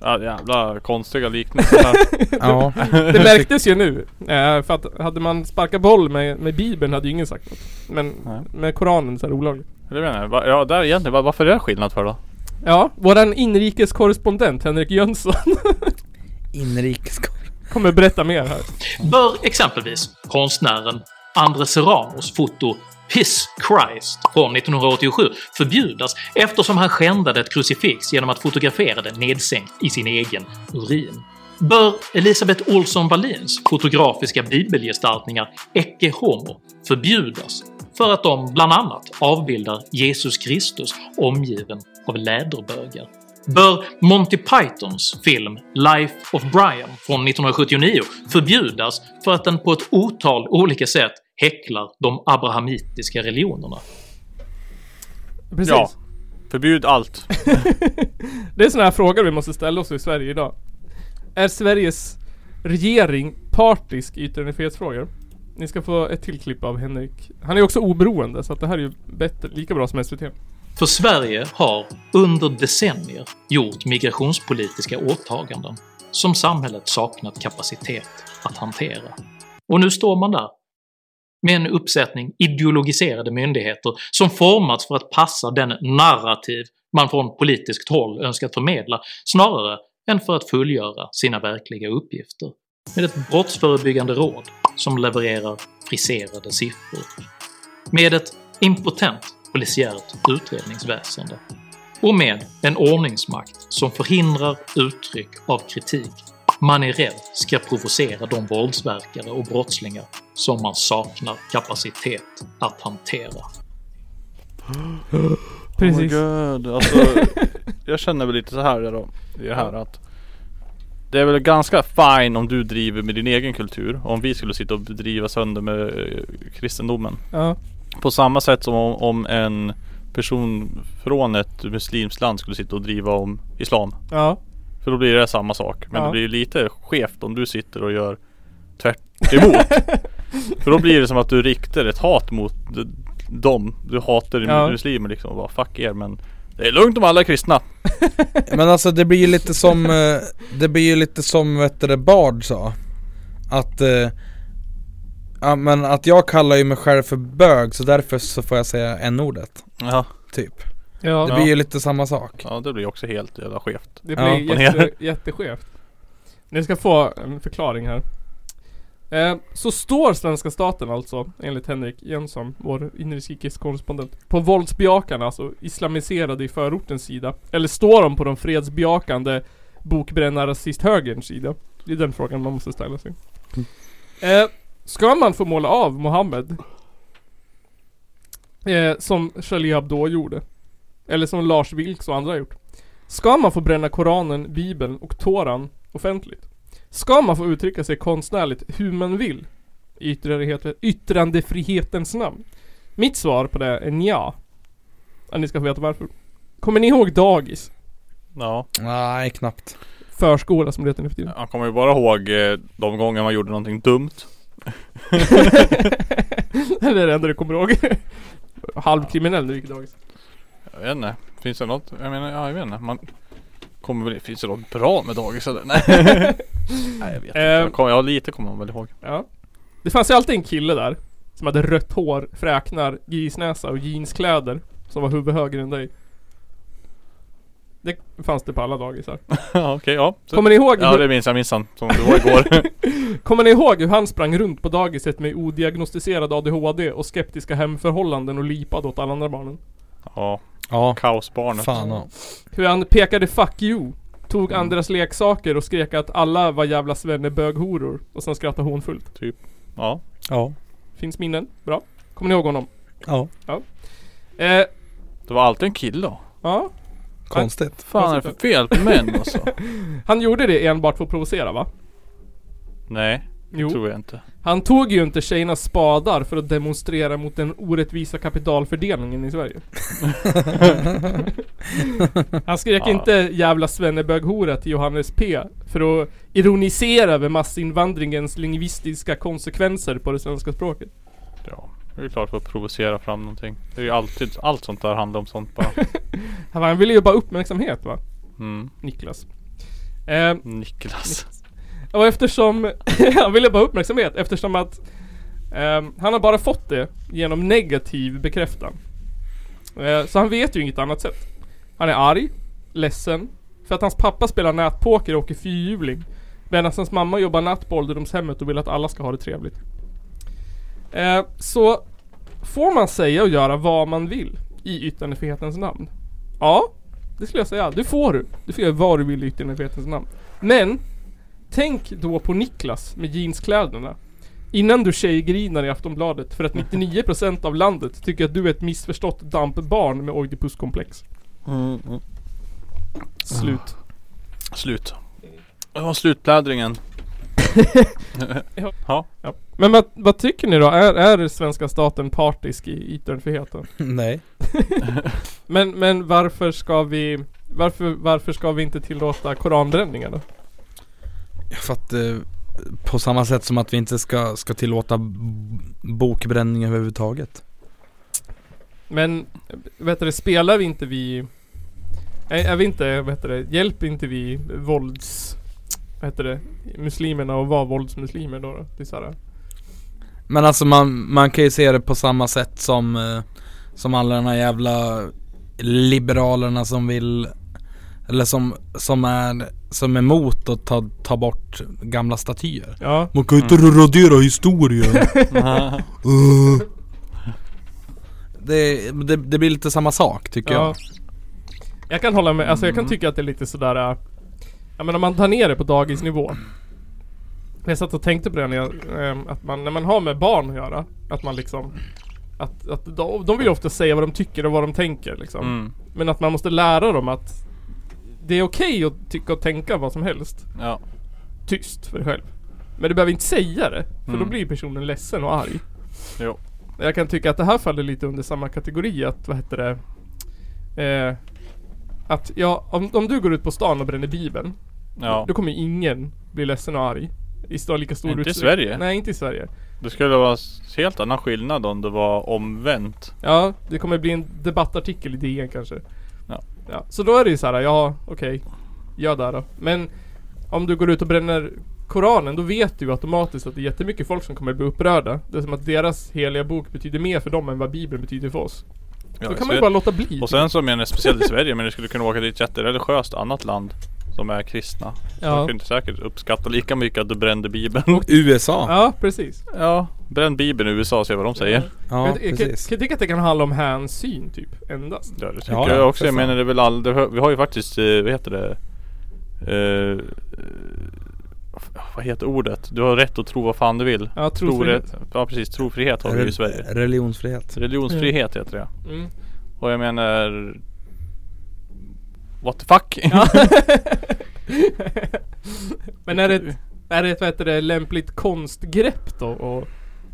Ja, jävla konstiga liknelser.
Ja. Det märktes ju nu. Eh, För att hade man sparkat boll med, med Bibeln hade ju ingen sagt något. Men med Koranen så är det olagligt.
Det menar jag. Va- Ja, där egentligen. va- Varför är det skillnad för då?
Ja, våran inrikeskorrespondent Henrik Jönsson
Inrikeskorrespondent.
kommer berätta mer här.
Bör exempelvis konstnären Andres Serranos foto Piss Christ från 1987 förbjudas eftersom han skändade ett krucifix genom att fotografera det nedsänkt i sin egen urin? Bör Elisabeth Olsson Wallins fotografiska bibelgestaltningar Ecce Homo förbjudas för att de bland annat avbildar Jesus Kristus omgiven av läderbögar? Bör Monty Pythons film “Life of Brian” från 1979 förbjudas för att den på ett otal olika sätt häcklar de abrahamitiska religionerna?
Precis.
Ja. Förbjud allt.
Det är sådana här frågor vi måste ställa oss i Sverige idag. Är Sveriges regering partisk i yttrandefrihetsfrågor? Ni ska få ett till klipp av Henrik. Han är också oberoende så att det här är ju bättre, lika bra som SVT.
För Sverige har under decennier gjort migrationspolitiska åtaganden som samhället saknat kapacitet att hantera. Och nu står man där med en uppsättning ideologiserade myndigheter som formats för att passa den narrativ man från politiskt håll önskat förmedla snarare än för att fullgöra sina verkliga uppgifter. Med ett brottsförebyggande råd som levererar friserade siffror med ett impotent polisiärt utredningsväsende och med en ordningsmakt som förhindrar uttryck av kritik man är rädd ska provocera de våldsverkare och brottslingar som man saknar kapacitet att hantera.
Precis.
Oh my god. Alltså, jag känner väl lite så här då. I det här att det är väl ganska fine om du driver med din egen kultur. Om vi skulle sitta och driva sönder med eh, kristendomen.
Ja.
På samma sätt som om, om en person från ett muslimskt land skulle sitta och driva om islam.
Ja.
För då blir det samma sak. Men
Ja.
det blir ju lite skevt om du sitter och gör tvärt emot. För då blir det som att du riktar ett hat mot d- dem. Du hatar
Ja.
muslimer liksom och bara fuck er men det är lugnt om alla är kristna.
Men alltså det blir ju lite som, eh, det blir ju lite som vet du, det Bard sa Att, eh, ja men att jag kallar ju mig själv för bög så därför så får jag säga n-ordet
Ja.
Typ
Ja.
Det blir ju lite samma sak
Ja det blir också helt jävla skevt.
Det
Ja.
blir
Och
jätte,
ner.
jätteskevt. Ni ska få en förklaring här. Eh, Så står svenska staten alltså, enligt Henrik Jönsson, vår inrikeskorrespondent, på våldsbejakarna, alltså islamiserade i förortens sida. Eller står de på de fredsbejakande bokbrännar-rasisthögerns sida? Det är den frågan man måste ställa sig. Eh, Ska man få måla av Mohammed? Eh, som Charlie Hebdo gjorde. Eller som Lars Vilks och andra har gjort. Ska man få bränna Koranen, Bibeln och Toran offentligt? Ska man få uttrycka sig konstnärligt hur man vill? I yttrandefrihet- yttrandefrihetens namn. Mitt svar på det är nja. Ja, ni ska få veta varför. Kommer ni ihåg dagis?
Ja.
Nej knappt.
Förskola som det heter nu för tiden.
Han kommer ju bara ihåg eh, de gånger man gjorde någonting dumt.
det är det enda du kommer ihåg. Halvkriminell när du gick i dagis.
Jag vet inte. Finns det något? Jag menar, ja, jag vet inte. Man kommer väl, finns det något bra med dagis eller? Nej. Nej jag vet
Eh.
inte. Jag kommer, ja lite kommer man väl ihåg.
Ja. Det fanns ju alltid en kille där. Som hade rött hår, fräknar, grisnäsa och jeanskläder. Som var huvudet högre än dig. Det fanns det på alla dagisar.
Ja, Okej, ja. Så-
Kommer ni ihåg
Ja
hur-
det minns jag minns han. Som det var igår.
Kommer ni ihåg hur han sprang runt på dagiset med odiagnostiserad ADHD och skeptiska hemförhållanden och lipade åt alla andra barnen?
ja.
ja.
Kaosbarnet.
Fan, ja.
Hur han pekade 'fuck you' Tog
Mm.
andras leksaker och skrek att alla var jävla svenneböghoror och sen skrattade hon fullt.
Typ. Ja.
Ja.
Finns minnen? Bra. Kommer ni ihåg honom?
Ja.
Ja. Eh,
Det var alltid en kille då.
ja.
Konstigt.
Fan är det för fel på män alltså?
Han gjorde det enbart för att provocera va?
Nej.
Jo.
Det tror jag inte.
Han tog ju inte tjejernas spadar för att demonstrera mot den orättvisa kapitalfördelningen i Sverige. Han skrek
Ja.
inte 'jävla svenneböghora' till Johannes P för att ironisera över massinvandringens lingvistiska konsekvenser på det svenska språket.
Det är ju klart för att provocera fram någonting. Det är ju alltid, allt sånt där handlar om sånt bara.
Han ville ju bara ha uppmärksamhet va?
Mm.
Niklas. Eh,
Niklas.
Och eftersom, han ville bara ha uppmärksamhet eftersom att ehm, han har bara fått det genom negativ bekräftan. Eh, så han vet ju inget annat sätt. Han är arg, ledsen, för att hans pappa spelar nätpoker och åker fyrhjuling. Medan hans mamma jobbar natt på ålderdomshemmet och vill att alla ska ha det trevligt. Eh, så får man säga och göra vad man vill i yttrandefrihetens namn? Ja, det skulle jag säga. Det får du. Du får göra vad du vill i yttrandefrihetens namn. Men Tänk då på Niklas med jeanskläderna. Innan du tjejgrinar i Aftonbladet för att 99% av landet tycker att du är ett missförstått dampbarn med oidipuskomplex.
Mm, mm.
Slut.
Ah. Slut. Det var slutblädringen. ja.
Ja. Men vad, vad tycker ni då? Är, är svenska staten partisk i yttrandefriheten?
Nej.
men, men varför ska vi varför, varför ska vi inte tillåta koranbränningar då?
För att eh, på samma sätt som att vi inte ska, ska tillåta b- bokbränning överhuvudtaget.
Men, vet du, spelar vi inte vi... Är, är vi inte, vet du, hjälper inte vi vålds... Vad heter det? Muslimerna och vara våldsmuslimer då? då? Det är så här,
Men alltså man, man kan ju se det på samma sätt som, eh, som alla de här jävla liberalerna som vill eller som, som är som är emot att ta, ta bort gamla statyer. Mm.
Ja.
Man kan ju inte radera historien. Eh. det, det, det blir lite samma sak tycker jag.
Jag kan hålla med, alltså jag kan
Mm.
tycka att det är lite sådär äh, Ja men om man tar ner det på dagisnivå Jag satt och tänkte på det när jag, ehm, att man, när man har med barn att göra Att man liksom Att, att de, de vill ju ofta säga vad de tycker och vad de tänker liksom
Mm.
Men att man måste lära dem att Det är okej att tycka och tänka vad som helst
Ja.
Tyst för dig själv Men du behöver inte säga det För då
Mm.
blir personen ledsen och arg
Jo.
jag kan tycka att det här faller lite under samma kategori att, vad heter det? Eh, att ja, om, om du går ut på stan och bränner bibeln.
Ja.
Då kommer ingen bli ledsen och arg. I stor, lika stor
Inte i
utsträck-
Sverige.
Nej, inte i Sverige.
Det skulle vara s- helt annan skillnad om det var omvänt.
Ja, det kommer bli en debattartikel i DN kanske.
Ja.
ja så då är det ju så här, ja okej. Gör det här då. Men om du går ut och bränner Koranen, då vet du ju automatiskt att det är jättemycket folk som kommer bli upprörda. Det är som att deras heliga bok betyder mer för dem än vad Bibeln betyder för oss.
Ja,
då
så
kan man ju
jag-
bara låta bli.
Och sen så menar jag speciellt i Sverige men du skulle kunna åka till ett jättereligiöst annat land som är kristna. Ja.
Ja.
De kunde säkert uppskatta lika mycket att du brände bibeln.
USA.
Ja, precis.
Ja. Bränn bibeln i USA och se vad de säger.
jag, jag, jag, jag tycker att det kan handla om hänsyn typ, endast.
Ja, det tycker jag också. Jag menar det är väl all, det, hör- vi har ju faktiskt, eh, vad heter det? Eh, vad heter ordet? Du har rätt att tro vad fan du vill.
Ja, trosfrihet.
Tro- ja precis, trofrihet har vi ju i Sverige.
Religionsfrihet.
Religionsfrihet heter det
Mm.
Och jag menar What the fuck?
Men är det ett, är det ett vad heter det, lämpligt konstgrepp då? Och,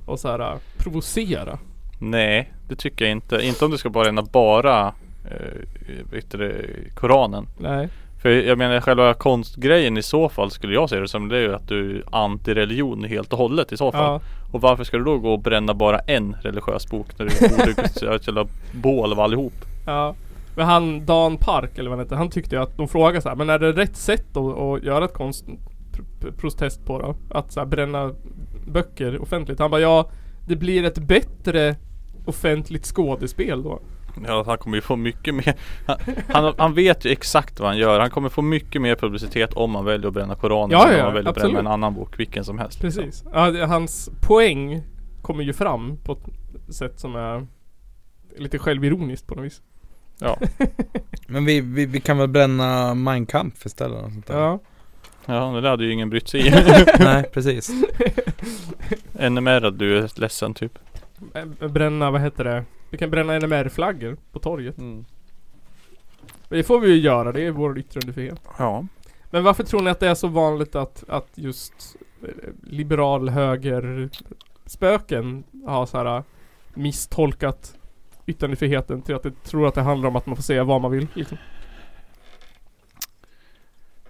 och så här, äh, provocera?
Nej, det tycker jag inte. Inte om du ska bränna bara eh, yttre, Koranen.
Nej.
För jag menar själva konstgrejen i så fall skulle jag se det som det är ju att du är antireligion helt och hållet i så fall.
Ja.
Och varför ska du då gå och bränna bara en religiös bok när du borde göra ett jävla bål av allihop?
Ja. Men han Dan Park eller vad han heter, han tyckte ju att de frågade så här, men är det rätt sätt att, att göra ett konst pr- pr- protest på då? Att så här, bränna böcker offentligt? Han bara ja, det blir ett bättre offentligt skådespel då.
Ja, han kommer ju få mycket mer han, han, han vet ju exakt vad han gör. Han kommer få mycket mer publicitet om han väljer att bränna Koranen
Ja,
än
ja,
om han väljer
absolut.
att bränna en annan bok, vilken som helst. liksom.
Precis. Ja, det- hans poäng kommer ju fram på ett sätt som är lite självironiskt på något vis.
Ja.
Men vi, vi, vi kan väl bränna Mein Kampf istället eller något sånt där.
ja.
Ja, det där hade ju ingen brytt sig i.
Nej precis.
NMR att du är ledsen typ.
Eh, Bränna, vad heter det? Vi kan bränna NMR-flaggor på torget.
Mm.
Men det får vi ju göra, det är vår yttrandefrihet.
Ja.
Men varför tror ni att det är så vanligt att, att just eh, liberal höger spöken har så här eh, misstolkat yttrandefriheten till att de tror att det handlar om att man får säga vad man vill liksom.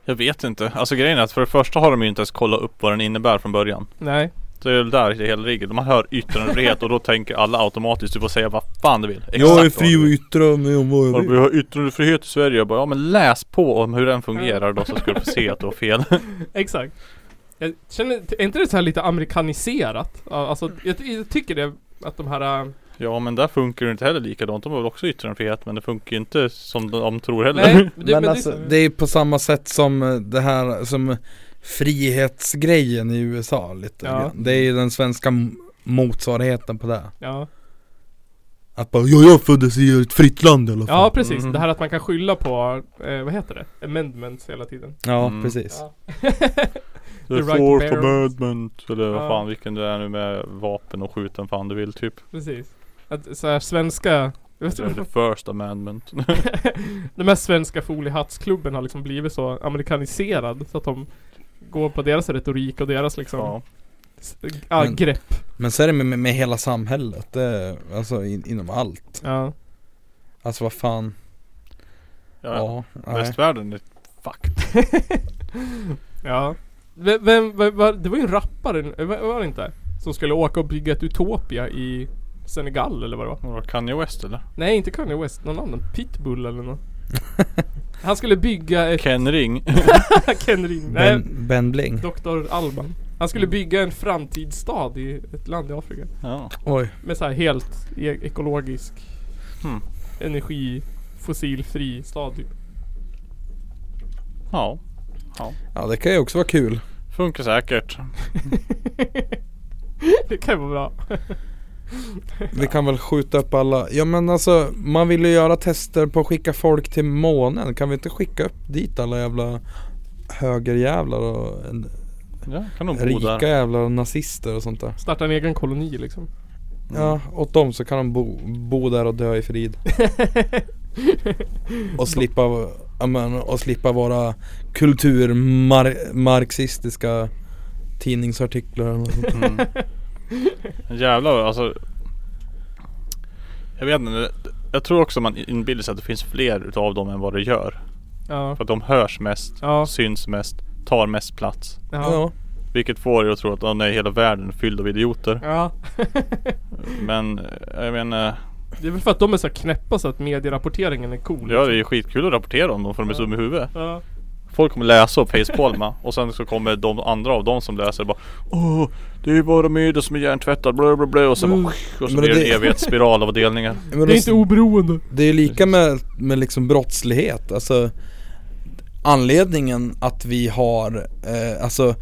Jag vet inte. Alltså grejen är att för det första har de ju inte ens kollat upp vad den innebär från början.
Nej.
Det är väl där det hela ligger. Man hör yttrandefrihet och då tänker alla automatiskt du får säga vad fan du vill.
Jag är fri att yttra mig om vad jag
Och vi
vill.
har yttrandefrihet i Sverige. Jag bara, ja men läs på om hur den fungerar då så ska du få se att du har fel.
Exakt. Jag känner, är inte det så här lite amerikaniserat? Ja, Alltså, jag, jag tycker det att de här... äh,
Ja men där funkar det inte heller likadant. De har väl också yttrandefrihet men det funkar ju inte som de tror heller.
men alltså, det är på samma sätt som eh, det här som frihetsgrejen i USA lite
Ja.
grann. Det är ju den svenska m- motsvarigheten på det.
Ja,
Att bara, ja jag föddes i ett fritt land i alla fall.
ja precis.
Mm.
Det här att man kan skylla på, eh, vad heter det? Amendments hela tiden.
Ja, Mm. precis.
The,
right
fourth
bearers.
amendment eller vad
Ja.
fan vilken det är nu med vapen och skjuten fan du vill typ.
Precis. Att så här svenska... jag vet
Eller
inte
the first amendment.
Den här svenska foliehattsklubben har liksom blivit så amerikaniserad så att de går på deras retorik och deras liksom ja. ah,
Men-
grepp.
Men så är det med, med, med hela samhället, det, är- alltså in, inom allt.
Ja.
Alltså vad fan.
Ja,
nej.
Västvärlden är fucked.
Ja. Vem, vem, vem var, det var ju en rappare, eh, var, var det inte? Som skulle åka och bygga ett Utopia i Senegal eller vad det var.
Vadå, Kanye West eller?
Nej, inte Kanye West. Någon annan. Pitbull eller något. Han skulle bygga ett...
Ken Ring.
Ken Mm. Ring. Nej.
Ben, ben Bling.
Dr. Alban. Han skulle bygga en framtidsstad i ett land i Afrika.
Ja.
Oj.
Med så här helt e ekologisk
Hmm.
energi, fossilfri stad typ.
Ja. Ja.
Ja det kan ju också vara kul.
Funkar säkert.
Det kan ju vara bra.
Vi kan väl skjuta upp alla. Ja men alltså man vill ju göra tester på att skicka folk till månen. Kan vi inte skicka upp dit alla jävla högerjävlar och en,
Ja, kan de bo
rika
där.
jävlar och nazister och sånt där.
Starta en egen koloni liksom.
Ja, åt dem så kan de bo, bo där och dö i frid. och slippa, ja, men, och slippa våra kulturmarxistiska tidningsartiklar eller något sånt.
Mm. Jävlar alltså. Jag vet inte. Jag tror också man inbillar sig att det finns fler utav dem än vad det gör.
Ja.
För att de hörs mest,
Ja.
syns mest, tar mest plats.
Ja. Ja.
Vilket får er att tro att oh, nej, hela världen är fylld av idioter.
Ja.
Men eh, jag menar.
Det är väl för att de är så här knäppa så att medierapporteringen är cool. liksom.
Ja det är ju skitkul att rapportera om dem för de är dumma i huvudet.
Ja.
Folk kommer läsa och facepalma och sen så kommer de andra av dem som läser bara Åh, det är ju bara media som är hjärntvättad bla bla bla och så bara, och så
Men
blir det
det-
en evighetsspiral av delningar.
Men
Det är inte oberoende.
Det är lika med, med liksom brottslighet, alltså Anledningen att vi har, eh, alltså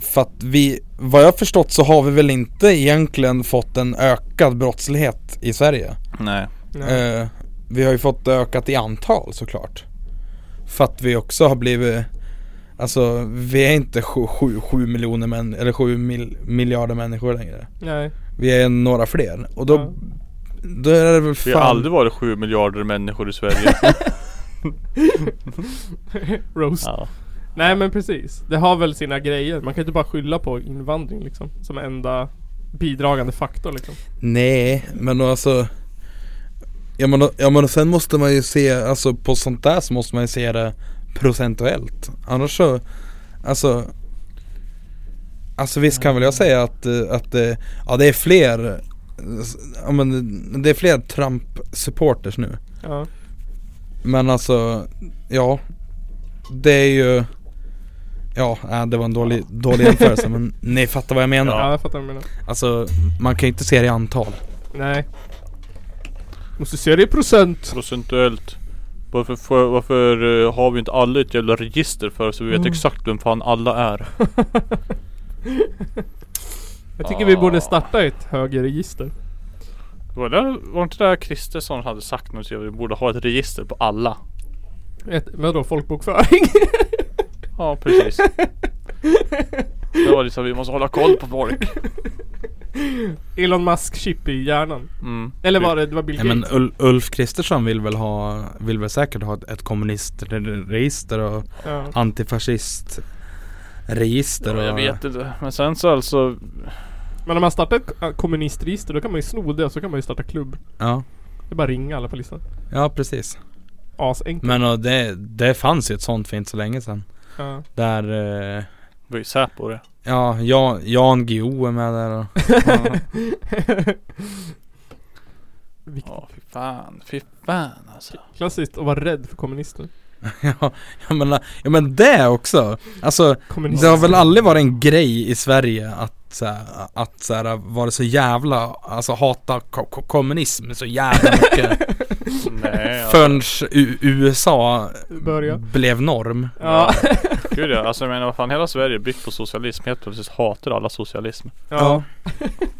För att vi, vad jag förstått så har vi väl inte egentligen fått en ökad brottslighet i Sverige
Nej.
Eh, Vi har ju fått det ökat i antal såklart För att vi också har blivit Alltså vi är inte 7 miljoner män, eller 7 mil, miljarder människor längre
Nej.
Vi är några fler och då, då är det väl
Vi
fan
har aldrig varit sju miljarder människor i Sverige.
Roast.
Ja.
Nej men precis. Det har väl sina grejer. Man kan inte bara skylla på invandring liksom. Som enda bidragande faktor liksom.
Nej, men alltså Ja men, ja men sen måste man ju se, alltså på sånt där så måste man ju se det procentuellt Annars så, alltså Alltså visst kan väl jag säga att, eh, att eh, ja det är fler eh, s- Ja men det är fler Trump-supporters nu
Ja.
Men alltså, ja Det är ju Ja, äh, det var en dålig, dålig jämförelse men ni fattar vad jag menar
Ja, jag fattar vad du menar.
Alltså, man kan ju inte se det i antal
Nej. Måste se det i procent.
Procentuellt. Varför, får- varför eh, har vi inte alla ett jävla register för så vi vet
Mm.
exakt vem fan alla är?
Jag tycker vi borde starta ett högerregister.
Var det var inte det där Kristersson hade sagt något? Vi borde ha ett register på alla.
Ett, vadå folkbokföring?
Ja precis. Det var liksom, vi måste hålla koll på folk.
Elon Musk-chip i hjärnan.
Mm.
Eller var det, det var Bill
Nej,
Gates?
men Ul- Ulf Kristersson vill väl ha, vill väl säkert ha ett, ett kommunistregister och
Ja.
antifascistregister
Ja, jag
och...
vet inte. Men sen så alltså.
Men om man startar ett k- kommunistregister då kan man ju sno det och så kan man ju starta klubb.
Ja,
Det är bara att ringa alla på listan.
ja precis.
Asenkelt.
Men och det, det fanns ju ett sånt för inte så länge sedan.
Ja.
Där... Eh,
Det var ju Säpo det.
Ja, Jan, Jan Guillou är med där och,
Ja, fy fan, fy fan alltså.
Klassiskt att vara rädd för kommunister.
ja, ja, men, ja men det också! Alltså,
Kommunism.
det har väl aldrig varit en grej i Sverige att så här, att så här, vara så jävla, alltså hata ko- ko- kommunism så jävla mycket.
Nej, alltså.
Förrän U- USA
Börja.
blev norm.
Ja.
Gud ja, alltså jag menar vad fan hela Sverige är byggt på socialism. Helt plötsligt hatar alla socialism.
Ja.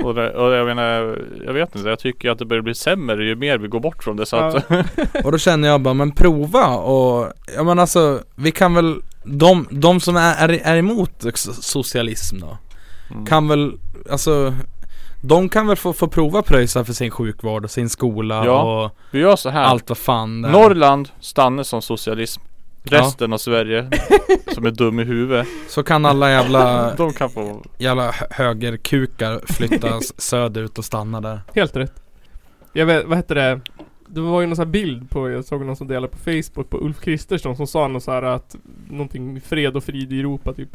Och, det, och jag menar, jag vet inte. Jag tycker ju att det börjar bli sämre ju mer vi går bort från det så att
och då känner jag bara, men prova och, ja men alltså vi kan väl, de, de som är, är, är emot so- socialism då, kan väl, alltså de kan väl få, få prova pröjsa för sin sjukvård och sin skola
Ja,
och
vi gör så här.
allt vad fan det är.
Norrland stannar som socialism.
Ja.
Resten av Sverige som är dum i huvudet.
Så kan alla jävla
De kan få
Jävla hö- högerkukar flyttas söderut och stanna där
Helt rätt. Jag vet, vad heter det? Det var ju någon sån här bild på, jag såg någon som delade på Facebook på Ulf Kristersson som sa något så här att Någonting fred och frid i Europa typ.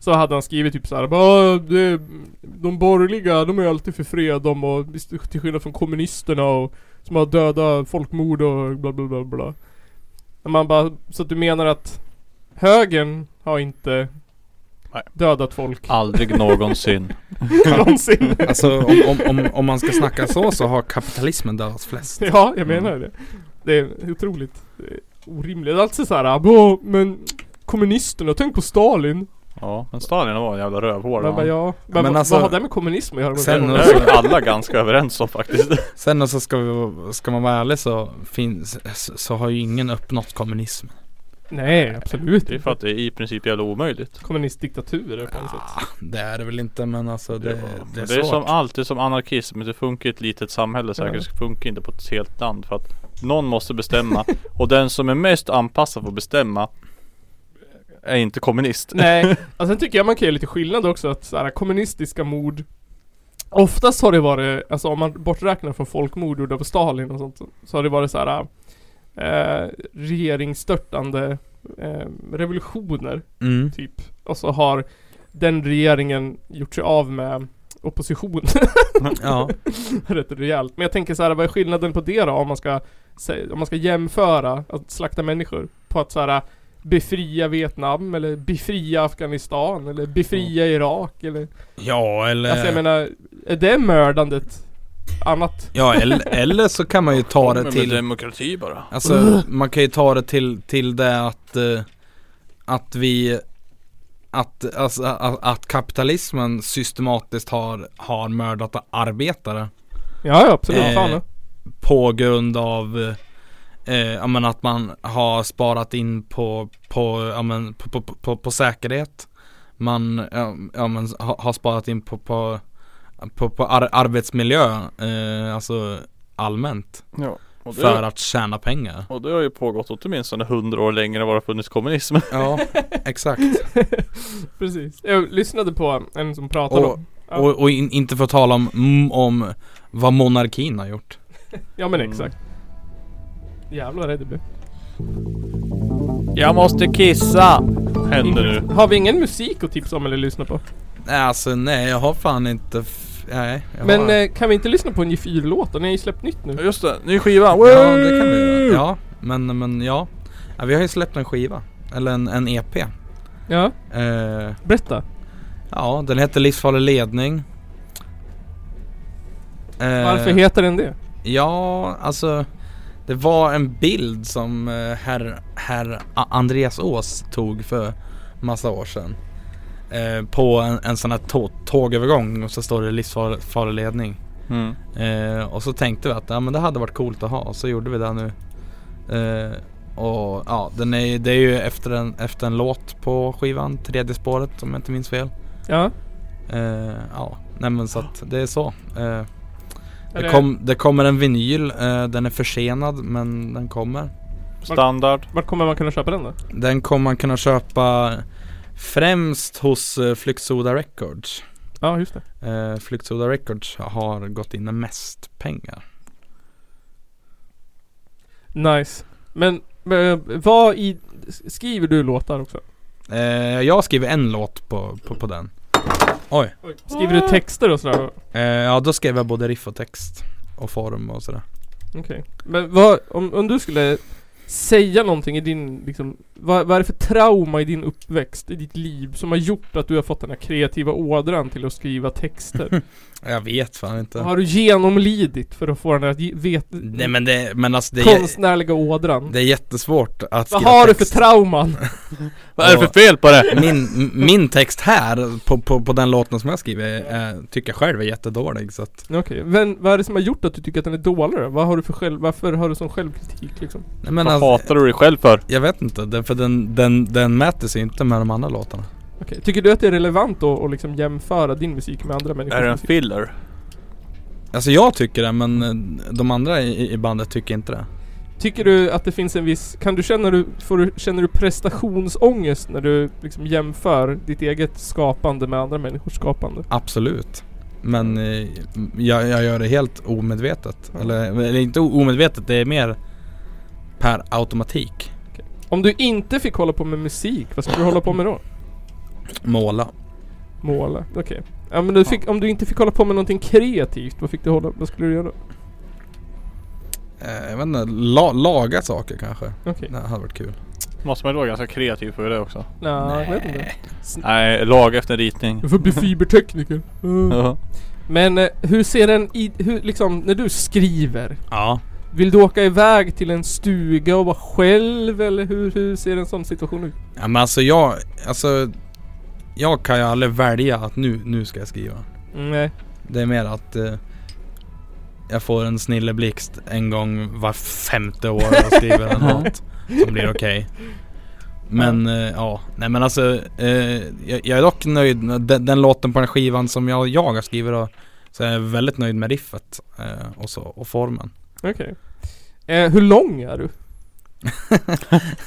Så hade han skrivit typ såhär bara det, De borgerliga, de är ju alltid för fred de och till skillnad från kommunisterna och Som har döda folkmord och bla bla bla bla. Men Man bara, så att du menar att Högern har inte Dödat folk.
Aldrig någonsin.
någonsin.
Alltså om, om, om, om man ska snacka så så har kapitalismen dödat flest
Ja, jag menar det. Det är otroligt eh, orimligt. Det är Alltid såhär, "Åh, ah, men kommunisterna, tänk på Stalin.
Ja, men Stalin var en jävla rövhål.
Men, men, ja, men, alltså, vad- vad har det med kommunism att göra? Med
sen-
Det är alla ganska överens om faktiskt.
Sen då så ska, vi, ska man vara ärlig så finns, så- så har ju ingen uppnått kommunism
Nej, absolut
Det är för att det är i princip jävla omöjligt.
Kommunistdiktaturer på något sätt.
Ah, Det är det väl inte men alltså det, det är
Det är
svårt
som alltid som anarkism, det funkar i ett litet samhälle säkert, det funkar inte på ett helt land för att någon måste bestämma och den som är mest anpassad får bestämma är inte kommunist.
Nej, och sen tycker jag man kan göra lite skillnad också att såhär kommunistiska mord Oftast har det varit, alltså om man borträknar från folkmord gjorda av Stalin och sånt Så har det varit såhär eh, Regeringsstörtande eh, revolutioner
Mm.
Typ Och så har den regeringen gjort sig av med opposition
Ja.
Rätt rejält Men jag tänker så här, vad är skillnaden på det då? Om man ska, sä- om man ska jämföra att slakta människor På att så här Befria Vietnam eller befria Afghanistan eller befria Irak eller
Ja eller
Alltså jag menar Är det mördandet annat?
Ja eller, eller så kan man ju ta det till
demokrati bara.
Alltså man kan ju ta det till, till det att eh, Att vi att, alltså, att, att kapitalismen systematiskt har, har mördat arbetare
Ja, ja, absolut.
Eh.
Fan, ja.
På grund av eh, ja, men att man har sparat in på, på, ja, men, på, på, på, på säkerhet Man ja, ja, men, ha, har sparat in på, på, på, på ar- arbetsmiljö eh, Alltså allmänt
Ja, och det-
För att tjäna pengar
Och det har ju pågått åtminstone hundra år längre än vad det har funnits kommunism.
Ja, exakt.
Precis. Jag lyssnade på en som pratade
Och,
om ja.
och, och in, inte få tala om, mm, om vad monarkin har gjort.
ja men exakt. Jävlar vad rädd jag blev.
Jag måste kissa! Händer nu.
Har vi ingen musik att tipsa om eller lyssna på?
Nej alltså nej, jag har fan inte, f- nej. Jag
Men
har...
eh, kan vi inte lyssna på en G4-låt Ni har ju släppt nytt nu.
Just det, ny skiva.
Ja det kan vi göra. Ja, men, men ja. ja. Vi har ju släppt en skiva. Eller en, en EP.
Ja.
Eh,
Berätta.
Ja, den heter Livsfarlig ledning. Eh,
Varför heter den det?
Ja, alltså det var en bild som eh, herr, herr A- Andreas Ås tog för massa år sedan. Eh, på en, en sån här tå- tågövergång och så står det livsfarlig ledning.
Mm.
Eh, och så tänkte vi att ja, men det hade varit coolt att ha och så gjorde vi det nu. Eh, och ja, den är, det är ju efter en, efter en låt på skivan, tredje spåret om jag inte minns fel.
Ja.
Eh, ja, nej men så att det är så. Eh,
Eller-
det, kom, det kommer en vinyl, eh, den är försenad men den kommer.
Standard.
Vart kommer man kunna köpa den då?
Den kommer man kunna köpa främst hos eh, Flyktsoda Records.
Ja, just
det. Eh, Flyktsoda Records har gått in med mest pengar.
Nice. Men, men vad i... Skriver du låtar också?
Eh, jag skriver en låt på, på, på den. Oj.
Skriver du texter och sådär då?
Eh, ja, då skrev jag både riff och text. Och form och sådär.
Okej. Men vad, om, om du skulle säga någonting i din, liksom, vad, vad är det för trauma i din uppväxt, i ditt liv, som har gjort att du har fått den här kreativa ådran till att skriva texter?
Jag vet fan inte.
Vad har du genomlidit för att få den här ge- vet,
Nej men det, men alltså det är,
konstnärliga ådran?
det är jättesvårt att
Vad
skriva
har du
text.
för trauman?
Vad är det för fel på det?
Min, m- min text här, på, på, på den låten som jag skriver, eh, tycker jag själv är jättedålig så att
Okej, men vad är det som har gjort att du tycker att den är dålig då? Vad har du för själv, varför har du sån självkritik liksom?
Nej, men
Vad
alltså-
hatar du dig själv för?
Jag vet inte, den, för den, den, den mäter sig inte med de andra låtarna
Okej, Tycker du att det är relevant då att liksom jämföra din musik med andra människors
Är det en
musik?
filler?
Alltså jag tycker det, men eh, de andra i, i bandet tycker inte det
Tycker du att det finns en viss, kan du känna du, får du, känner du prestationsångest när du liksom jämför ditt eget skapande med andra människors skapande?
Absolut Men eh, jag, jag gör det helt omedvetet eller, eller inte o- omedvetet, det är mer per automatik
Om du inte fick hålla på med musik, vad skulle du hålla på med då?
Måla
Måla? Okej. Ja men du fick, om du inte fick hålla på med någonting kreativt, vad fick du hålla, vad skulle du göra då?
eh, Jag vet inte, la, laga saker kanske
Okej.
Det hade varit kul
Måste man ju vara ganska kreativ för det också?
Nej, jag vet inte. S-
Nej, laga efter en ritning.
Jag får bli fibertekniker. Mm.
Mm. Ja.
Men eh, hur ser en i, hur, liksom, när du skriver?
Ja
Vill du åka iväg till en stuga och vara själv eller hur, hur ser en sån situation ut?
Ja men alltså jag, alltså Jag kan ju aldrig välja att nu, nu ska jag skriva
Nej.
Det är mer att eh, Jag får en snilleblixt en gång var femte år och skriver en låt Som blir okej Men eh, ja, nej men alltså eh, jag, jag är dock nöjd med den, den låten på den skivan som jag, jag har skrivit då Så jag är väldigt nöjd med riffet eh, och så, och formen
Okej. Eh, hur lång är du?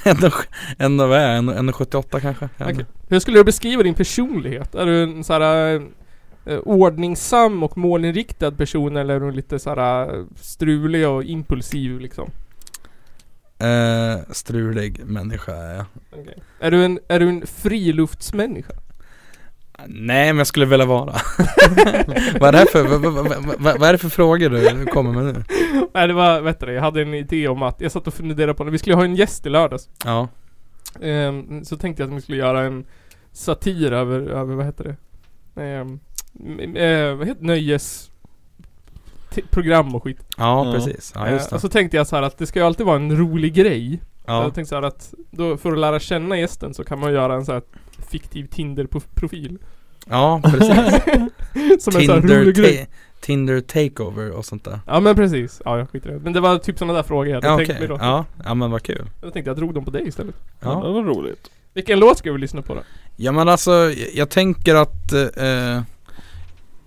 Ändå, ändå vad är jag? Ändå- ändå 78 kanske?
Okej. Hur skulle du beskriva din personlighet? Är du en så här eh, ordningsam och målinriktad person eller är du lite så här eh, strulig och impulsiv liksom?
Eh, strulig människa är jag
Är du en, är du en friluftsmänniska?
Nej men jag skulle vilja vara vad, är det här för, vad, vad, vad, vad, vad är det för frågor du kommer med nu?
Nej det var, vet du, jag hade en idé om att, jag satt och funderade på det, vi skulle ha en gäst i lördags.
Ja,
Ehm, så tänkte jag att vi skulle göra en satir över, över vad heter det? Ehm, m- eh, vad heter nöjes... t- Program och skit.
ja precis, ja
Eh,
just
och
det
så tänkte jag så här att det ska ju alltid vara en rolig grej.
Ja.
Jag tänkte så här att, då, för att lära känna gästen så kan man göra en så här fiktiv Tinder-profil.
Ja precis
Som en så här
Tinder,
rolig grej.
ta- Tinder takeover och sånt där
Ja men precis. Ja jag skiter i det. Men det var typ sådana där frågor jag hade
Ja
tänkt
okej,
mig då.
ja, ja men vad kul
Jag tänkte jag drog dem på dig istället.
Ja.
Det var roligt.
Vilken låt ska vi lyssna på då?
Ja men alltså, jag- jag tänker att eh,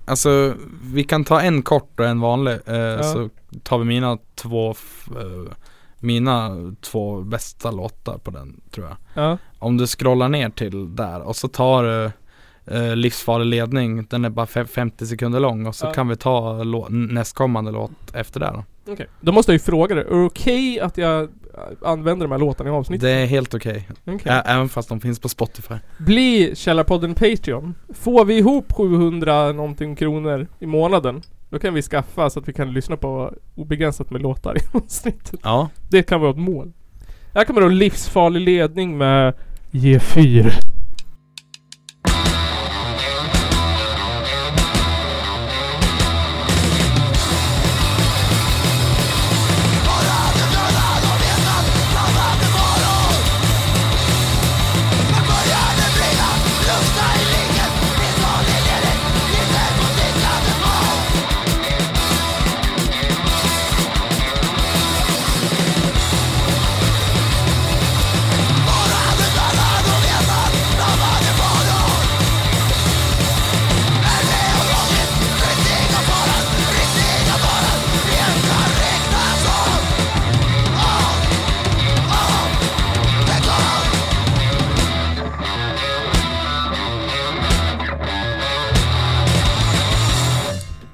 Alltså, vi kan ta en kort och en vanlig eh, Så tar vi mina två f- eh, Mina två bästa låtar på den tror jag
Ja.
Om du scrollar ner till där och så tar du eh, Livsfarlig ledning, den är bara fe- 50 sekunder lång och så
Ja.
kan vi ta lå- nästkommande låt efter det då.
Okej. Då måste jag ju fråga dig. Är det okej att jag äh, använder de här låtarna i avsnittet?
Det är helt okej,
Okej.
Ä- även fast de finns på Spotify
Bli Källarpodden Patreon. Får vi ihop 700 någonting kronor i månaden, då kan vi skaffa så att vi kan lyssna på obegränsat med låtar i avsnittet.
Ja,
Det kan vara ett mål. Här kommer då Livsfarlig ledning med G4.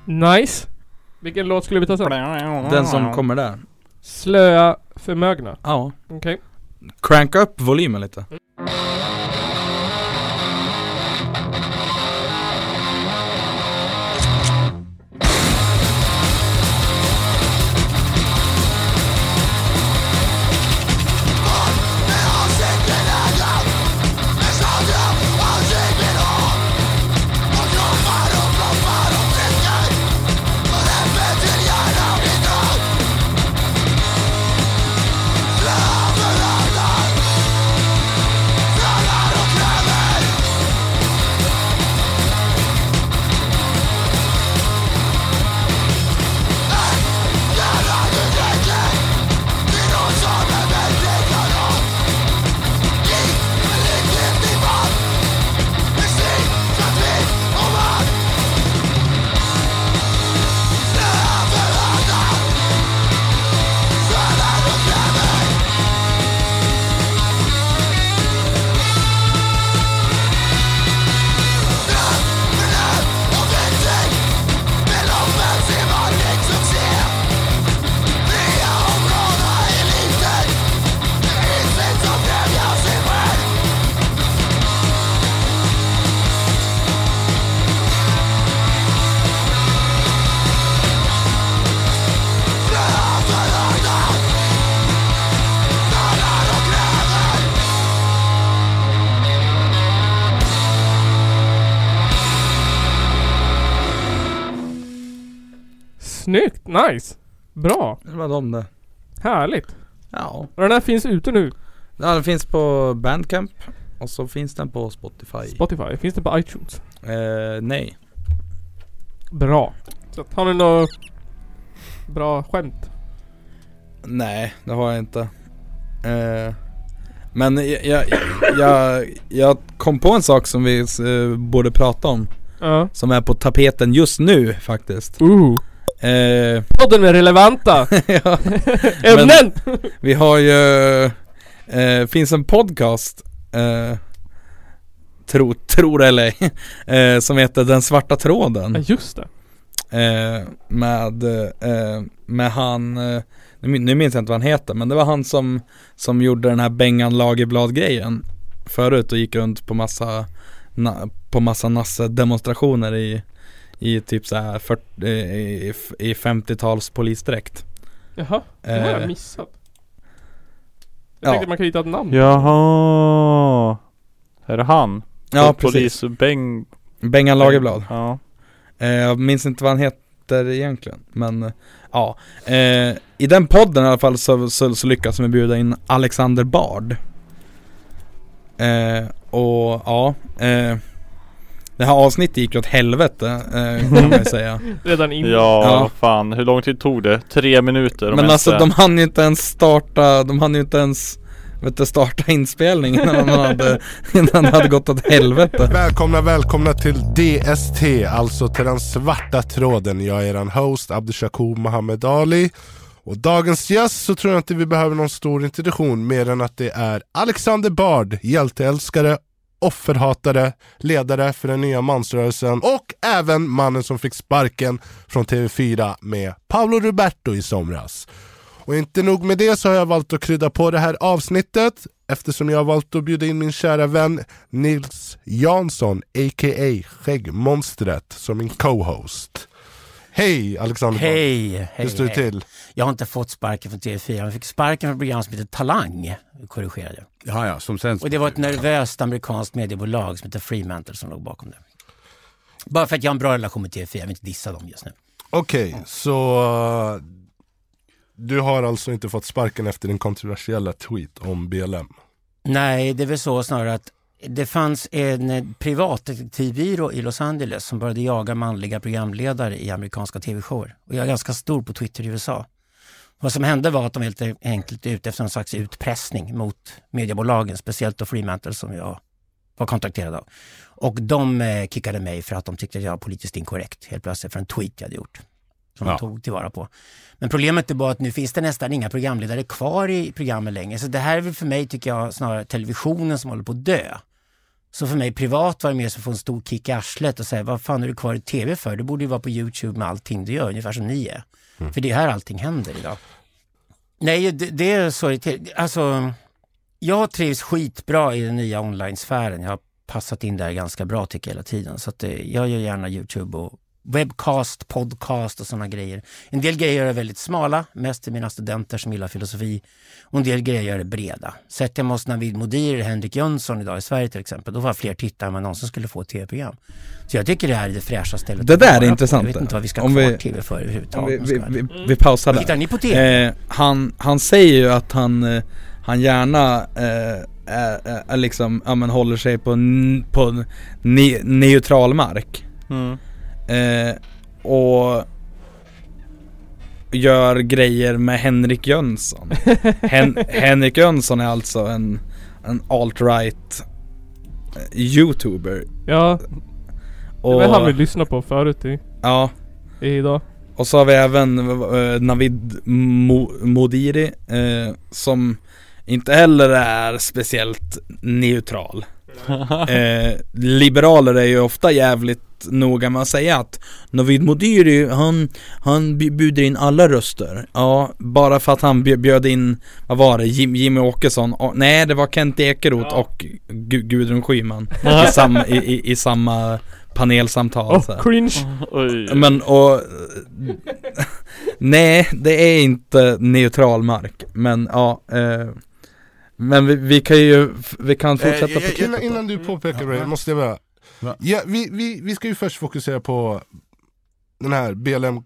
Nice. Vilken låt skulle vi ta sen?
den
Ah.
som kommer där
Slöa förmögna.
Ja,
Okej.
cranka upp volymen lite
Snyggt! Nice! Bra!
Det var de det.
Härligt!
Ja.
Och den här finns ute nu?
Ja, den finns på Bandcamp. Och så finns den på Spotify.
Spotify? Finns det på iTunes?
Eh, nej.
Bra! Så att, har ni något bra skämt?
Nej, det har jag inte. Eh, men jag, jag, jag, jag kom på en sak som vi eh, borde prata om.
Ja.
Som är på tapeten just nu faktiskt.
Uh.
Eh,
Podden är relevanta!
ja.
Ämnen!
Men Vi har ju... Eh, finns en podcast. Eh, tro, tror eller ej, eh, Som heter Den Svarta Tråden.
Ja, just det.
Eh, med, eh, med han, eh, nu min- nu minns jag inte vad han heter, men det var han som, som gjorde den här Bengan Lagerblad grejen förut och gick runt på massa, na, på massa nasse-demonstrationer i, i typ så här 40, eh, i, i 50-tals polisdräkt.
Jaha, det har jag
Eh.
missat. Jag
Ja.
tänkte man kan hitta ett namn.
Jaha. Är det han?
Ja,
Pol- Polis Beng...
Bengan Lagerblad.
Ja.
Eh, Jag minns inte vad han heter egentligen, men eh, ja. Eh, I den podden i alla fall så, så, så lyckas vi bjuda in Alexander Bard. Eh, och ja, eh, det här avsnittet gick ju åt helvete eh, kan man ju säga.
Redan innan.
Ja,
Ja.
fan. Hur lång tid tog det? Tre minuter om
Men
ens
alltså
det.
de hann ju inte ens starta, de hann ju inte ens Vet du, starta inspelningen innan de hade, innan det hade gått åt helvete.
Välkomna, välkomna till DST, alltså till den svarta tråden. Jag är eran host Abdushakur Mohammed Ali. Och dagens gäst så tror jag inte vi behöver någon stor introduktion mer än att det är Alexander Bard, hjälteälskare, offerhatare, ledare för den nya mansrörelsen och även mannen som fick sparken från TV4 med Paolo Roberto i somras. Och inte nog med det så har jag valt att krydda på det här avsnittet eftersom jag har valt att bjuda in min kära vän Nils Jansson, a.k.a. Skäggmonstret, som min co-host. Hej Alexander Bard.
Hej!
Hur
hej,
står det
hej.
till?
Jag har inte fått sparken från TV4. Jag fick sparken från ett program som heter Talang, korrigerade.
Ja, ja, som sen...
Och det var ett nervöst amerikanskt mediebolag som heter Fremantle som låg bakom det. Bara för att jag har en bra relation med TV4, jag vill inte dissa dem just nu.
Okej, så uh, du har alltså inte fått sparken efter din kontroversiella tweet om BLM?
Nej, det är väl så snarare att det fanns en eh, privatdetektivbyrå i Los Angeles som började jaga manliga programledare i amerikanska tv-shower. Och jag är ganska stor på Twitter i USA. Vad som hände var att de helt enkelt är ute efter någon slags utpressning mot mediebolagen, speciellt då Fremantle som jag var kontakterad av. Och de eh, kickade mig för att de tyckte att jag var politiskt inkorrekt helt plötsligt för en tweet jag hade gjort. Som
Ja.
de tog tillvara på. Men problemet är bara att nu finns det nästan inga programledare kvar i programmen längre. Så det här är väl för mig, tycker jag, snarare televisionen som håller på att dö. Så för mig privat var det mer som att få en stor kick i arslet och säga, vad fan är du kvar i tv för? Du borde ju vara på YouTube med allting du gör, ungefär som ni är.
Mm.
För det är här allting händer idag. Nej, det, det är så irriterande. Alltså, jag trivs skitbra i den nya online-sfären. Jag har passat in där ganska bra tycker jag hela tiden. Så att, eh, jag gör gärna YouTube och webcast, podcast och sådana grejer. En del grejer är väldigt smala, mest till mina studenter som gillar filosofi. Och en del grejer är breda. Sätter jag mig hos Navid Modir eller Henrik Jönsson idag i Sverige till exempel, då får jag fler tittare än vad jag någonsin skulle få i tv-program. Så jag tycker det här är det fräscha stället
Det
att
där
vara
är
på.
intressant.
Jag vet inte vad vi ska
Om
ha kvar
vi-
tv för
om
överhuvudtaget.
vi,
om jag
vi,
ska vara
vi,
ärlig.
vi pausar där.
Tittar Mm. ni på TV?
Eh, han, han säger ju att han, eh, han gärna eh, är, är- är liksom, ja, men håller sig på, n- på ne, neutral mark.
Mm.
Eh, och gör grejer med Henrik Jönsson. Hen, Henrik Jönsson är alltså en, en alt-right eh, youtuber.
Ja. Det var
Och-
han vi lyssnade på förut i,
Ja.
idag.
Och så har vi även eh, Navid Mo- Modiri eh, som inte heller är speciellt neutral. Eh, liberaler är ju ofta jävligt noga med att säga att Navid Modiri, han, han bj- bjuder in alla röster. Ja, bara för att han bj- bjöd in, vad var det, Jim, Jimmy Åkesson? Och, nej, det var Kent Ekeroth och Gu- Gudrun Schyman i, sam, i, i, i samma panelsamtal.
Åh,
så här.
cringe.
Oj.
Men och... Nej, det är inte neutral mark. Men ja. Eh, men vi, vi kan ju, vi kan fortsätta
Eh,
på
jag- innan,
klippet.
innan du påpekar
Ja.
det, måste jag bara... Ja, vi, vi, vi ska ju först fokusera på den här BLM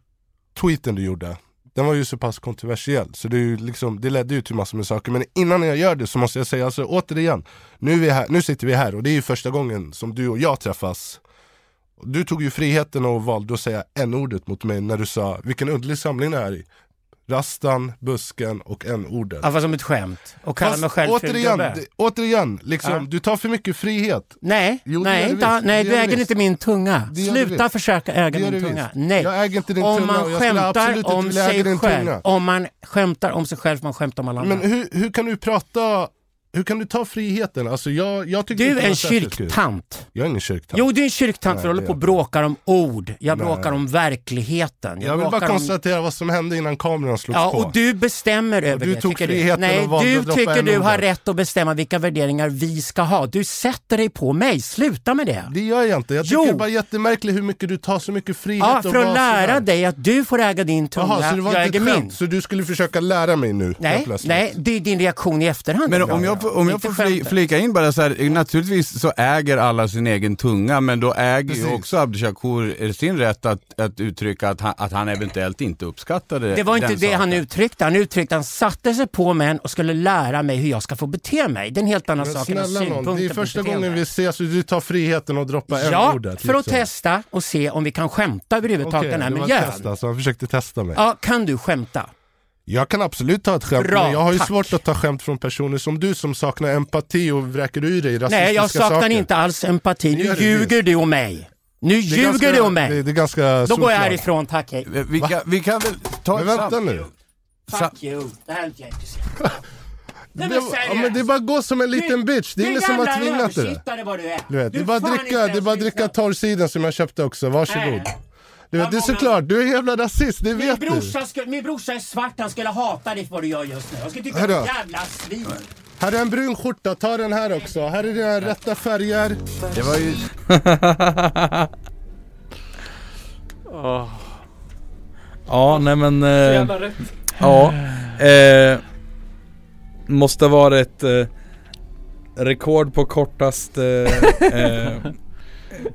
tweeten du gjorde, den var ju så pass kontroversiell så det, är ju liksom, det ledde ju till massor med saker. Men innan jag gör det så måste jag säga alltså, återigen, nu, är vi här, nu sitter vi här och det är ju första gången som du och jag träffas. Du tog ju friheten och valde att säga n-ordet mot mig när du sa vilken underlig samling det här är i. Rastan, busken och n-ordet.
Ja, Alltså, fast som ett skämt. Och kalla
Fast
mig själv ful
återigen,
gubbe.
det- återigen, liksom,
Ja.
du tar för mycket frihet.
Nej, nej, inte, nej du äger inte min tunga.
Det gör du
Sluta
visst.
försöka äga
Det gör
min
du
tunga.
visst.
Nej.
Jag äger inte din
om
tunga och
man
jag skulle absolut
skämtar
inte
om
vilja äga din
sig själv,
tunga.
om man skämtar om sig själv, man skämtar om alla andra.
Men hur, hur kan du prata, hur kan du ta friheten? Alltså jag, jag tycker
Du
inte det
är
var
en
särskilt kul.
kyrktant.
Jag är ingen kyrktant.
Jo, du är en kyrktant för
Nej,
du håller
det
på
är
och bråkar om ord. Jag
Nej.
bråkar om verkligheten.
Jag vill bara
bråkar om
konstatera vad som hände innan kameran slogs
Ja,
på.
och du bestämmer över
du
det.
tog
tycker
friheten
Nej,
och valde
du
att droppa
tycker du
en
har
ordet.
rätt att bestämma vilka värderingar vi ska ha. Du sätter dig på mig. Sluta med det.
Det gör jag inte. Jag tycker
Jo.
det är bara jättemärkligt hur mycket du tar så mycket frihet.
Ja,
och
för att
vad som
lära
helst.
dig att du får äga din tunga,
Jaha, så det var
jag
inte
äger
ett skämt?
min.
Så du skulle försöka lära mig nu?
Nej,
helt plötsligt?
nej, det är din reaktion i efterhand.
Men om jag, får- om jag
Inte
får fli,
skämtet.
flika in bara så här, naturligtvis så äger alla sin egen tunga, men då äger ju också Abdi Shakur sin rätt att, att uttrycka att han, att han eventuellt inte uppskattade
Det var inte
den
det
saken.
han uttryckte. Han uttryckte, han satte sig på mig och skulle lära mig hur jag ska få bete mig. Det är en helt annan
Men
sak än att ha
snälla nån, det
synpunkter
är
på
första
beteende.
gången vi ses och du tar friheten att droppa
Ja,
n-ordet. liksom.
för att testa och se om vi kan skämta överhuvudtaget i
Okej,
den här
det var
miljön.
ett test alltså. Han försökte testa mig.
Ja, kan du skämta?
Jag kan absolut ta ett skämt,
Bra,
men jag har ju
tack.
svårt att ta skämt från personer som du som saknar empati och vräker ur dig rasistiska
Nej, jag saknar
saker.
inte alls empati.
Det gör
Nu
det
ljuger du om mig. Nu
Det är
ljuger
ganska-
du om mig.
Det, det är ganska
Då går
solklart.
jag härifrån, tack hej.
Vi kan, vi kan väl ta
Men
ett
vänta
sam-
nu.
Fuck you, det här är inte jag intresserad av. Nej,
Det,
men
ja, men det är bara att gå som en liten bitch, det är ingen som har tvingat dig.
det. vad du är.
Du vet, det är
Du
bara
fan
att
inte
dricka, det är bara att dricka torrsiden som jag köpte också, varsågod.
Nej.
Du vet, det är såklart, du är en jävla rasist, det
Min
vet du.
brorsa, skulle, min brorsa är svart, han skulle hata dig för vad du gör just nu. Han skulle tycka
Hörru.
du är ett jävla svin.
Här är en brun skjorta, ta den här också. Här är dina rätta färger.
Det var ju...
Åh.
Ja, nej men... Eh,
jävla rätt.
Ja. Eh, måste ha varit eh, rekord på kortast eh, eh,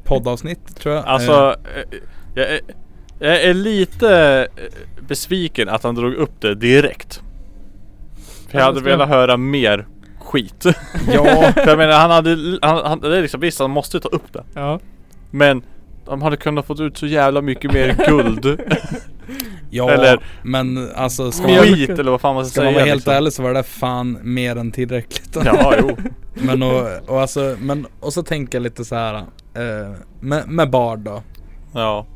poddavsnitt tror jag.
Alltså, eh, jag är, jag är lite eh, besviken att han drog upp det direkt. För jag hade velat höra mer skit.
Eh, Ja.
För jag menar han hade, han, han, det är liksom, visst han måste ta upp det.
Ja.
Men de hade kunnat fått ut så jävla mycket mer guld.
Ja,
Eller
men alltså
skit eller vad fan man ska,
ska
säga.
man vara helt
liksom.
ärlig så var det fan mer än tillräckligt.
Ja, jo.
men och, och alltså, men och så tänker jag lite så här eh, med, med Bard då.
Ja.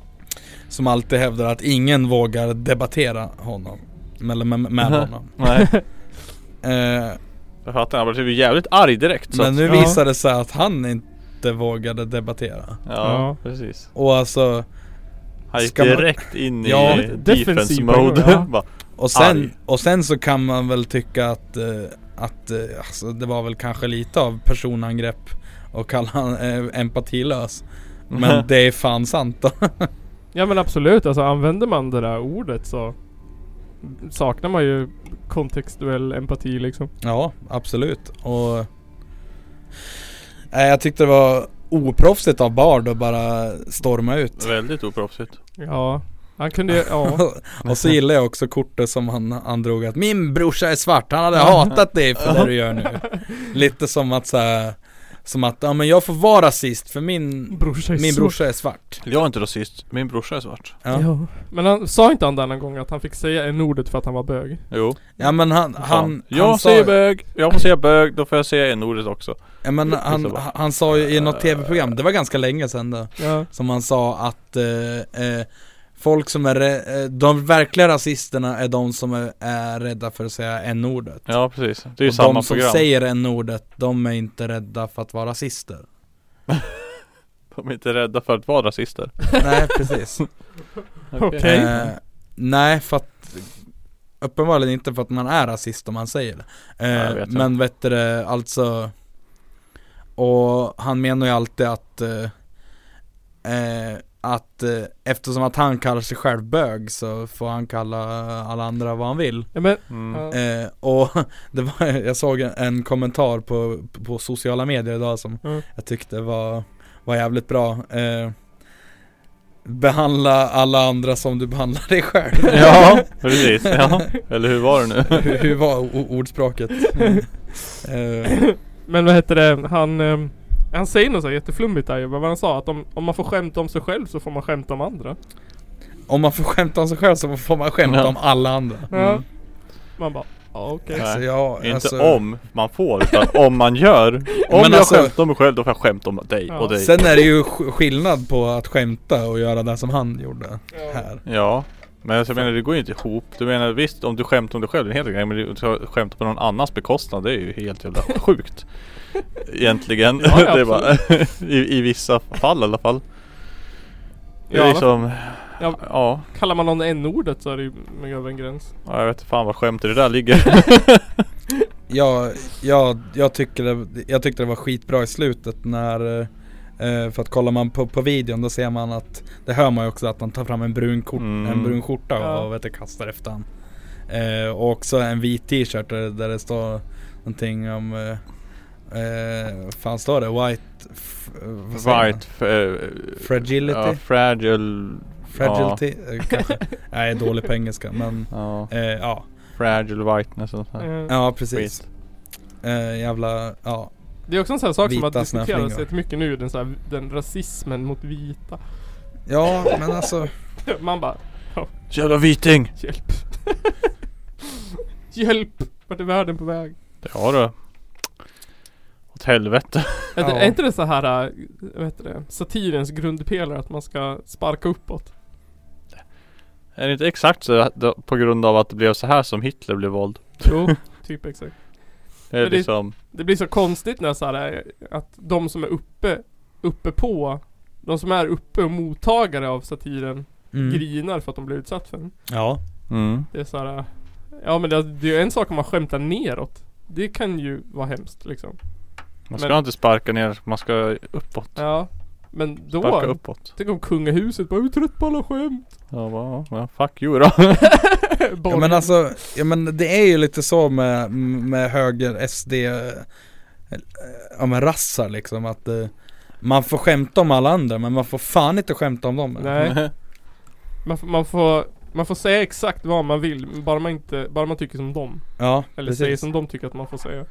Som alltid hävdar att ingen vågar debattera honom. Eller med, med honom.
Nej.
Eh,
Jag fattar, han blev jävligt arg direkt. så
men
att-
nu visar det sig att han inte vågade debattera.
Ja, Ja. precis.
Och alltså...
Han gick
ska man-
direkt in i defense mode.
Ja.
Bara,
och,
arg.
sen, och sen så kan man väl tycka att, eh, att eh, alltså, det var väl kanske lite av personangrepp och kalla han eh, empatilös.
Mhm.
Men det är fan sant då.
Ja men absolut, alltså använder man det där ordet så saknar man ju kontextuell empati liksom.
Ja, absolut. Och... Nej, jag tyckte det var oproffsigt av Bard att bara storma ut.
Väldigt oproffsigt.
Ja. Han kunde ju, ja.
och så gillar jag också kortet som han, han drog att min brorsa är svart, han hade hatat dig för det du gör nu. Lite som att så här, som att, ja men jag får vara rasist för min
brorsa är
min
svart.
brorsa är svart.
Jag är inte rasist, min brorsa är svart.
Ja.
Ja. Men han, sa inte han denna gång att han fick säga en ordet för att han var bög?
Jo.
Ja men han,
Fan.
han,
jag
han
säger bög, jag får säga bög, då får jag säga n-ordet också.
Ja men
Så Eh.
han,
bara,
han sa ju i något tv-program, det var ganska länge sedan då,
Ja.
som han sa att eh, eh, folk som är, rä- eh, de verkliga rasisterna är de som är, är rädda för att säga n-ordet.
Ja, precis. Det är ju
Och
samma
de som
program.
säger n-ordet, de är inte rädda för att vara rasister.
De är inte rädda för att vara rasister.
Nej, precis.
Okej.
Eh, nej, för att uppenbarligen inte för att man är rasist om man säger det.
Ja,
Eh,
jag vet det.
men vet du det, alltså Och han menar ju alltid att eh, eh, Att eh, eftersom att han kallar sig själv bög så får han kalla alla andra vad han vill.
Ja, men, ja.
Eh, och det var, jag såg en, en kommentar på, på sociala medier idag som
Mm.
jag tyckte var, var jävligt bra. Eh, behandla alla andra som du behandlar dig själv.
Ja, precis. Ja. Eller hur var det nu?
hur, hur var o- ordspråket? Eh,
Men vad heter det, han... eh, Han säger något så här jätteflummigt där ju, vad han sa att om, om man får skämta om sig själv så får man skämta om andra.
om man får skämta om sig själv så får man skämta
Ja.
om alla andra.
Ja. Man bara, ja okej.
Alltså,
Nej,
ja,
inte
alltså-
om man får utan om man gör. Om
Men
jag
alltså-
skämtar om mig själv då får jag skämta om dig och dig.
Sen är det ju sk- skillnad på att skämta och göra det som han gjorde här.
Ja. Men alltså, jag menar det går ju inte ihop. Du menar visst om du skämtar om dig själv det är en helt grej. Men du ska skämta på någon annans bekostnad det är ju helt jävla sjukt. Egentligen.
Ja, ja,
det är bara, i, I vissa fall i alla fall. Det är
Ja,
liksom,
Ja,
ja.
Kallar man någon n-ordet så är det ju mycket över en gräns.
ja, jag vet inte fan vad skämt det där ligger.
Jag, jag, jag, tycker det, jag tyckte det var skitbra i slutet när eh, För att kollar man på, på videon då ser man att Det hör man ju också att han tar fram en brun, kort,
Mm.
en brun skjorta och
Ja.
vet du, kastar efter han eh, Och också en vit t-shirt där, där det står Någonting om eh, eh, Fan står det? White f- eh, vad säger
Right. f- eh,
Fragility?
Ja, fragile.
Fragility
Ja.
eh, kanske. Nej, jag är dålig på engelska men
Ja.
eh, ja.
Fragile whiteness och sånt
Eh,
här.
Ja precis.
Skit.
Eh, jävla, ja.
Det är också en sån här sak som har
Vita
diskuterats
snöflingor.
jättemycket nu, den, så här, den rasismen mot vita.
Ja men alltså.
Man bara, ja,
Jävla viting!
hjälp. hjälp! Vart är världen på väg?
Ja du. Åt helvete.
Är, det, är inte det så här, äh, vad heter det, satirens grundpelare att man ska sparka uppåt?
Är det inte exakt så att det- på grund av att det blev så här som Hitler blev vald?
Jo, typ exakt.
Det är
Men det-
liksom
Det blir så konstigt när så här, äh, att de som är uppe, uppe på, de som är uppe och mottagare av satiren
Mm.
grinar för att de blir utsatt för den.
Ja.
Mm.
Det är så här, äh, ja men det, det är ju en sak om man skämtar neråt. Det kan ju vara hemskt liksom.
Man ska
Men-
inte sparka ner, man ska uppåt.
Ja. Men då,
Sparka uppåt.
tänk om kungahuset bara, jag är trött på alla skämt.
Ja, va, ja, fuck you då.
Ja, men alltså, ja, men det är ju lite så med, med höger SD, eh, ja men rassar liksom att eh, man får skämta om alla andra men man får fan inte skämta om dem.
Nej. Man, får- man, får, man får säga exakt vad man vill, bara man, inte, bara man tycker som dem.
Ja,
Eller
precis.
säger som de tycker att man får säga.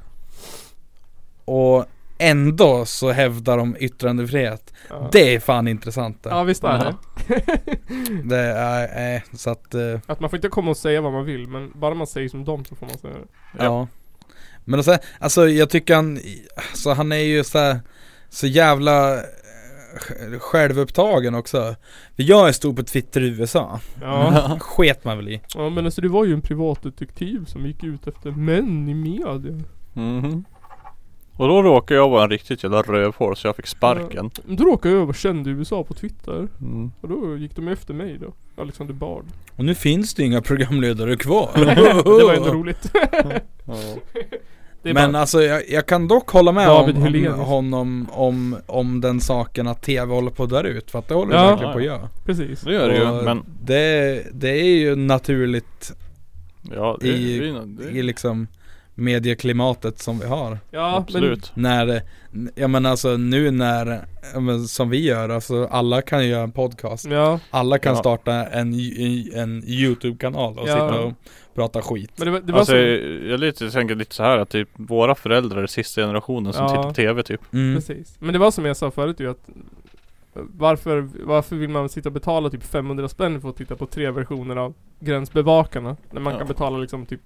Och ändå så hävdar de yttrandefrihet.
Ja.
Det är fan intressant. det.
Ja, visst är det.
Det är, eh, så att, eh,
Att man får inte komma och säga vad man vill, men bara man säger som dem så får man säga det.
Ja. Men alltså, alltså jag tycker han, alltså han är ju så, här, så jävla eh, sj- självupptagen också. För jag är stor på Twitter i USA.
Ja.
Sket man väl i.
Ja men alltså det var ju en privatdetektiv som gick ut efter män i media.
Mhm. Och då råkade jag vara en riktigt jävla rövhål så jag fick sparken.
Ja. Men Då råkade jag vara känd i USA på Twitter.
Mm.
Och då gick de efter mig då. Alexander Bard.
Och nu finns det ju inga programledare kvar.
det var ändå roligt. Det är
Men
bara-
alltså jag, jag kan dock hålla med
David
om, om
Hellenius.
honom om, om den saken att TV håller på att dö ut. För att det håller
Ja.
det verkligen på att göra.
Precis.
Det gör det ju
Och
men
det, det är ju naturligt
ja, det,
i,
det, är- det,
i liksom medieklimatet som vi har.
Ja,
Absolut.
När, ja men alltså nu när, ja, men som vi gör, alltså alla kan ju göra en podcast.
Ja.
Alla kan
Mm. Ja.
starta en, ju- en YouTube-kanal och
Ja.
sitta och prata skit.
Men det var, det var
alltså,
så...
jag, jag lite, tänker lite så här att typ våra föräldrar är sista generationen som
Ja.
tittar på TV typ.
Mm.
Precis. Men det var som jag sa förut ju att varför, varför vill man sitta och betala typ 500 spänn för att titta på tre versioner av Gränsbevakarna? När man
Ja.
kan betala liksom typ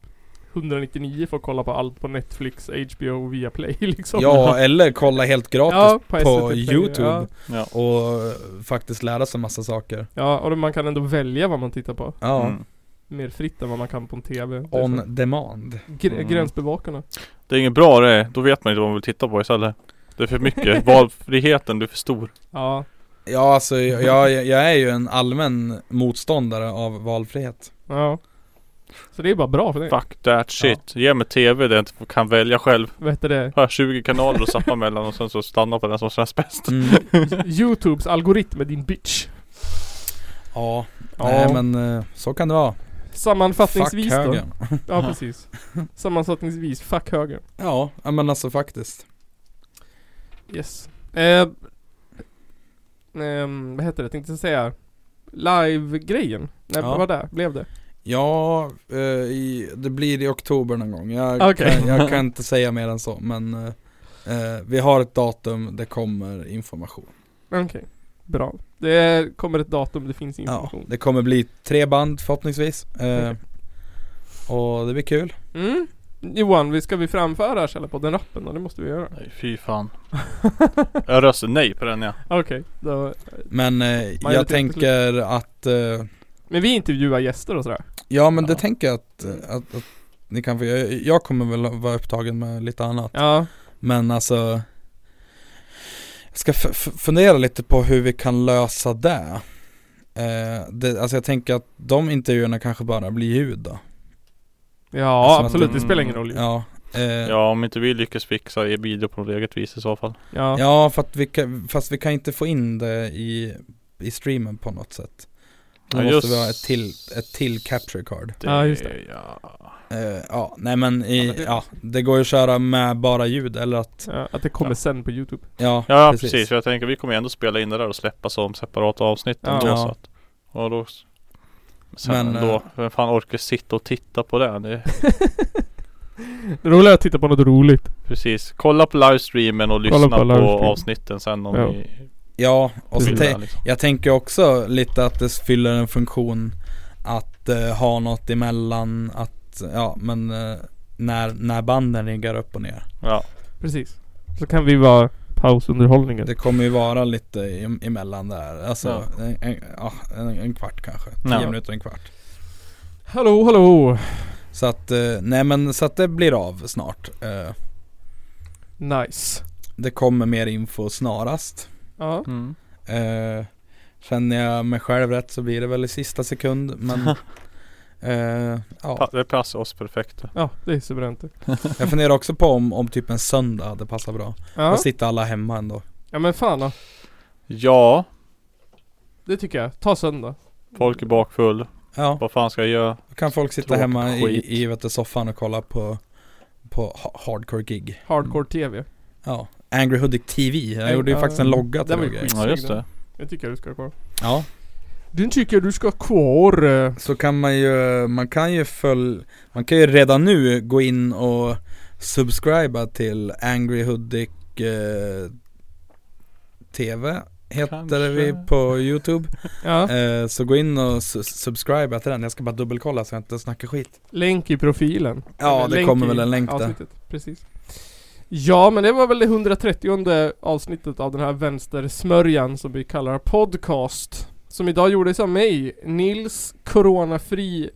199 för att kolla på allt på Netflix, HBO och Viaplay liksom.
Ja, eller kolla helt gratis
Ja, på
på,
SVT Play,
YouTube.
ja.
Och eh, faktiskt lära sig massa saker.
Ja, och då man kan ändå välja vad man tittar på.
Ja.
Mm.
Mer fritt än vad man kan på en TV. Det är så.
On demand.
Gr-
Mm.
Gränsbevakarna.
Det är inget bra det, då vet man inte vad man vill titta på istället. Det är för mycket, valfriheten blir för stor.
Ja.
Ja alltså jag, jag, jag är ju en allmän motståndare av valfrihet.
Ja. Så det är bara bra för det.
Fuck that shit. Ge mig TV där jag inte kan välja själv.
Vad heter det?
Har jag 20 kanaler att zappa mellan och sen så stanna på den som känns bäst.
Mm.
Youtubes algoritm är din bitch.
Ja,
Ja.
nej men eh, så kan det vara.
Sammanfattningsvis
Fuck
då.
högern.
Ja precis. Sammanfattningsvis, fuck höger.
Ja, ja, men alltså faktiskt.
Yes. Eh, ehm, vad heter det? Tänkte jag säga. live-grejen? När
Ja.
var det? Blev det?
Ja, eh, i, det blir i oktober någon gång. Jag,
Okej.
kan, jag kan inte säga mer än så men eh, eh, vi har ett datum, det kommer information.
Okej, bra. Det kommer ett datum, det finns
Ja,
information.
det kommer bli tre band förhoppningsvis. Eh, och det blir kul.
Mm. Johan, vi ska vi framföra Källarpodden-rappen då? Det måste vi göra.
Nej, fy fan. Jag röstar nej på den ja.
Okej, då...
Men eh, jag
Majoritetsbeslut.
tänker att eh,
Men vi intervjuar gäster och sådär.
Ja men det tänker jag att, att, att ni kan få, jag, jag kommer väl vara upptagen med lite annat.
Ja.
Men alltså Jag ska f- f- fundera lite på hur vi kan lösa det. Eh, det. Alltså jag tänker att de intervjuerna kanske bara blir ljud då.
Ja,
Alltså att
absolut.
de-
Det spelar ingen roll ju.
Ja. Eh,
Ja om inte vi lyckas fixa er bidrag på något eget vis i så fall.
Ja.
ja för att vi kan, fast vi kan inte få in det i, i streamen på något sätt. Då
Ja,
måste
just-
vi ha ett till, ett till capture card.
Ja, just det.
Eh, ja, nej men i, ja, det... går ju att köra med bara ljud eller att
Ja, att det kommer sen på Youtube.
Ja,
Ja precis. för jag tänker vi kommer ju ändå spela in det där och släppa som separata avsnitt
Ja.
ändå
Ja.
så att, och då, Sen
Men,
men,
eh,
ändå, vem fan orkar sitta och titta på det? det
Det roliga är att titta på något roligt.
precis, kolla på livestreamen och
Kolla
lyssna
på
på,
livestream.
avsnitten sen om
Ja.
ni
Ja, och så
vill
te-
det, liksom.
jag tänker också lite att det fyller en funktion att eh, ha något emellan att, ja men eh, när, när banden riggar upp och ner.
Ja.
Precis. Så kan vi vara pausunderhållningen.
Det kommer ju vara lite em- emellan där, alltså
Ja.
en, en, ja, en, en kvart kanske. Tio
Ja.
minuter, en kvart.
Hallå, hallå!
Så att, eh, nej men så att det blir av snart. Eh,
Nice.
Det kommer mer info snarast.
Ja.
Eh, känner jag mig själv rätt så blir det väl i sista sekund men eh, ja.
Pa- Det passar oss perfekt.
Ja, det är suveränt.
Jag funderar också på om, om typ en söndag hade passat bra.
Ja.
Då sitter alla hemma ändå.
Ja men fan då.
Ja,
Det tycker jag. Ta söndag.
folk är bakfull.
Ja.
Vad fan ska jag göra?
Då kan folk sitta
Tråkigt
hemma
skit.
i, i vet du, soffan och kolla på, på ha- hardcore gig.
Hardcore TV.
Ja. Angry Hoodic TV. Jag gjorde ju
Ja.
faktiskt en logga till
Den var ju
det.
skitsnygg den. Jag tycker du ska ha kvar.
Ja.
Den tycker jag du ska ha kvar. eh,
Så kan man ju, man kan ju följ, man kan ju redan nu gå in och subscriba till Angry Hoodic eh, TV heter
Kanske.
vi på Youtube.
Ja.
Eh, så gå in och su- subscriba till den. Jag ska bara dubbelkolla så jag inte snackar skit.
Länk i profilen.
Ja,
Eller
det
länk
kommer
i
väl en länk där.
avsnittet. Precis. Ja, men det var väl det 130 avsnittet av den här vänstersmörjan som vi kallar podcast. Som idag gjordes av mig, Nils Coronafri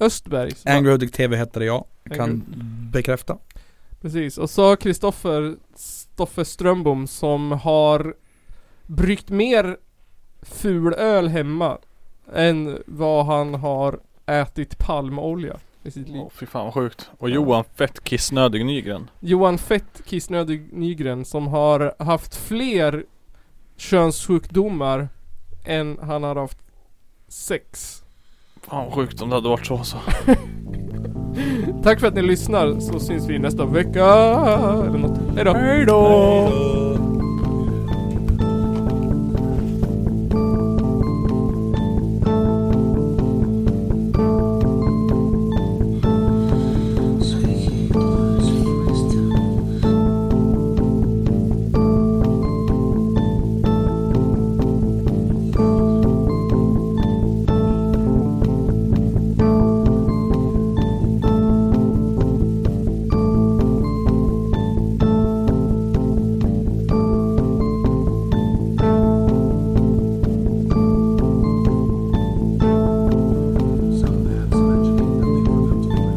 Östberg. som
Angry Hoodic TV heter det ja. Jag kan
Angry-
bekräfta.
Precis, och så Kristoffer Stoffe Strömbom som har bryggt mer ful öl hemma än vad han har ätit palmolja i sitt liv.
Åh fy fan vad sjukt. Och Johan fett kissnödig Nygren.
Johan Fett Kissnödig Nygren som har haft fler könssjukdomar än han har haft sex.
Fan vad sjukt om det hade varit så alltså. så.
Tack för att ni lyssnar så syns vi nästa vecka eller något. Hejdå!
Hejdå!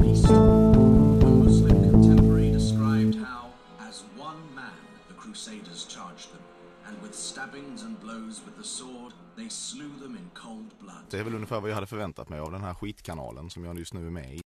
One Muslim contemporary described how, as one man, the Crusaders charged them, and with stabbings and blows with the sword, they slew them in cold blood.
Det är väl ungefär vad jag hade förväntat mig av den här skitkanalen som jag just nu är med i.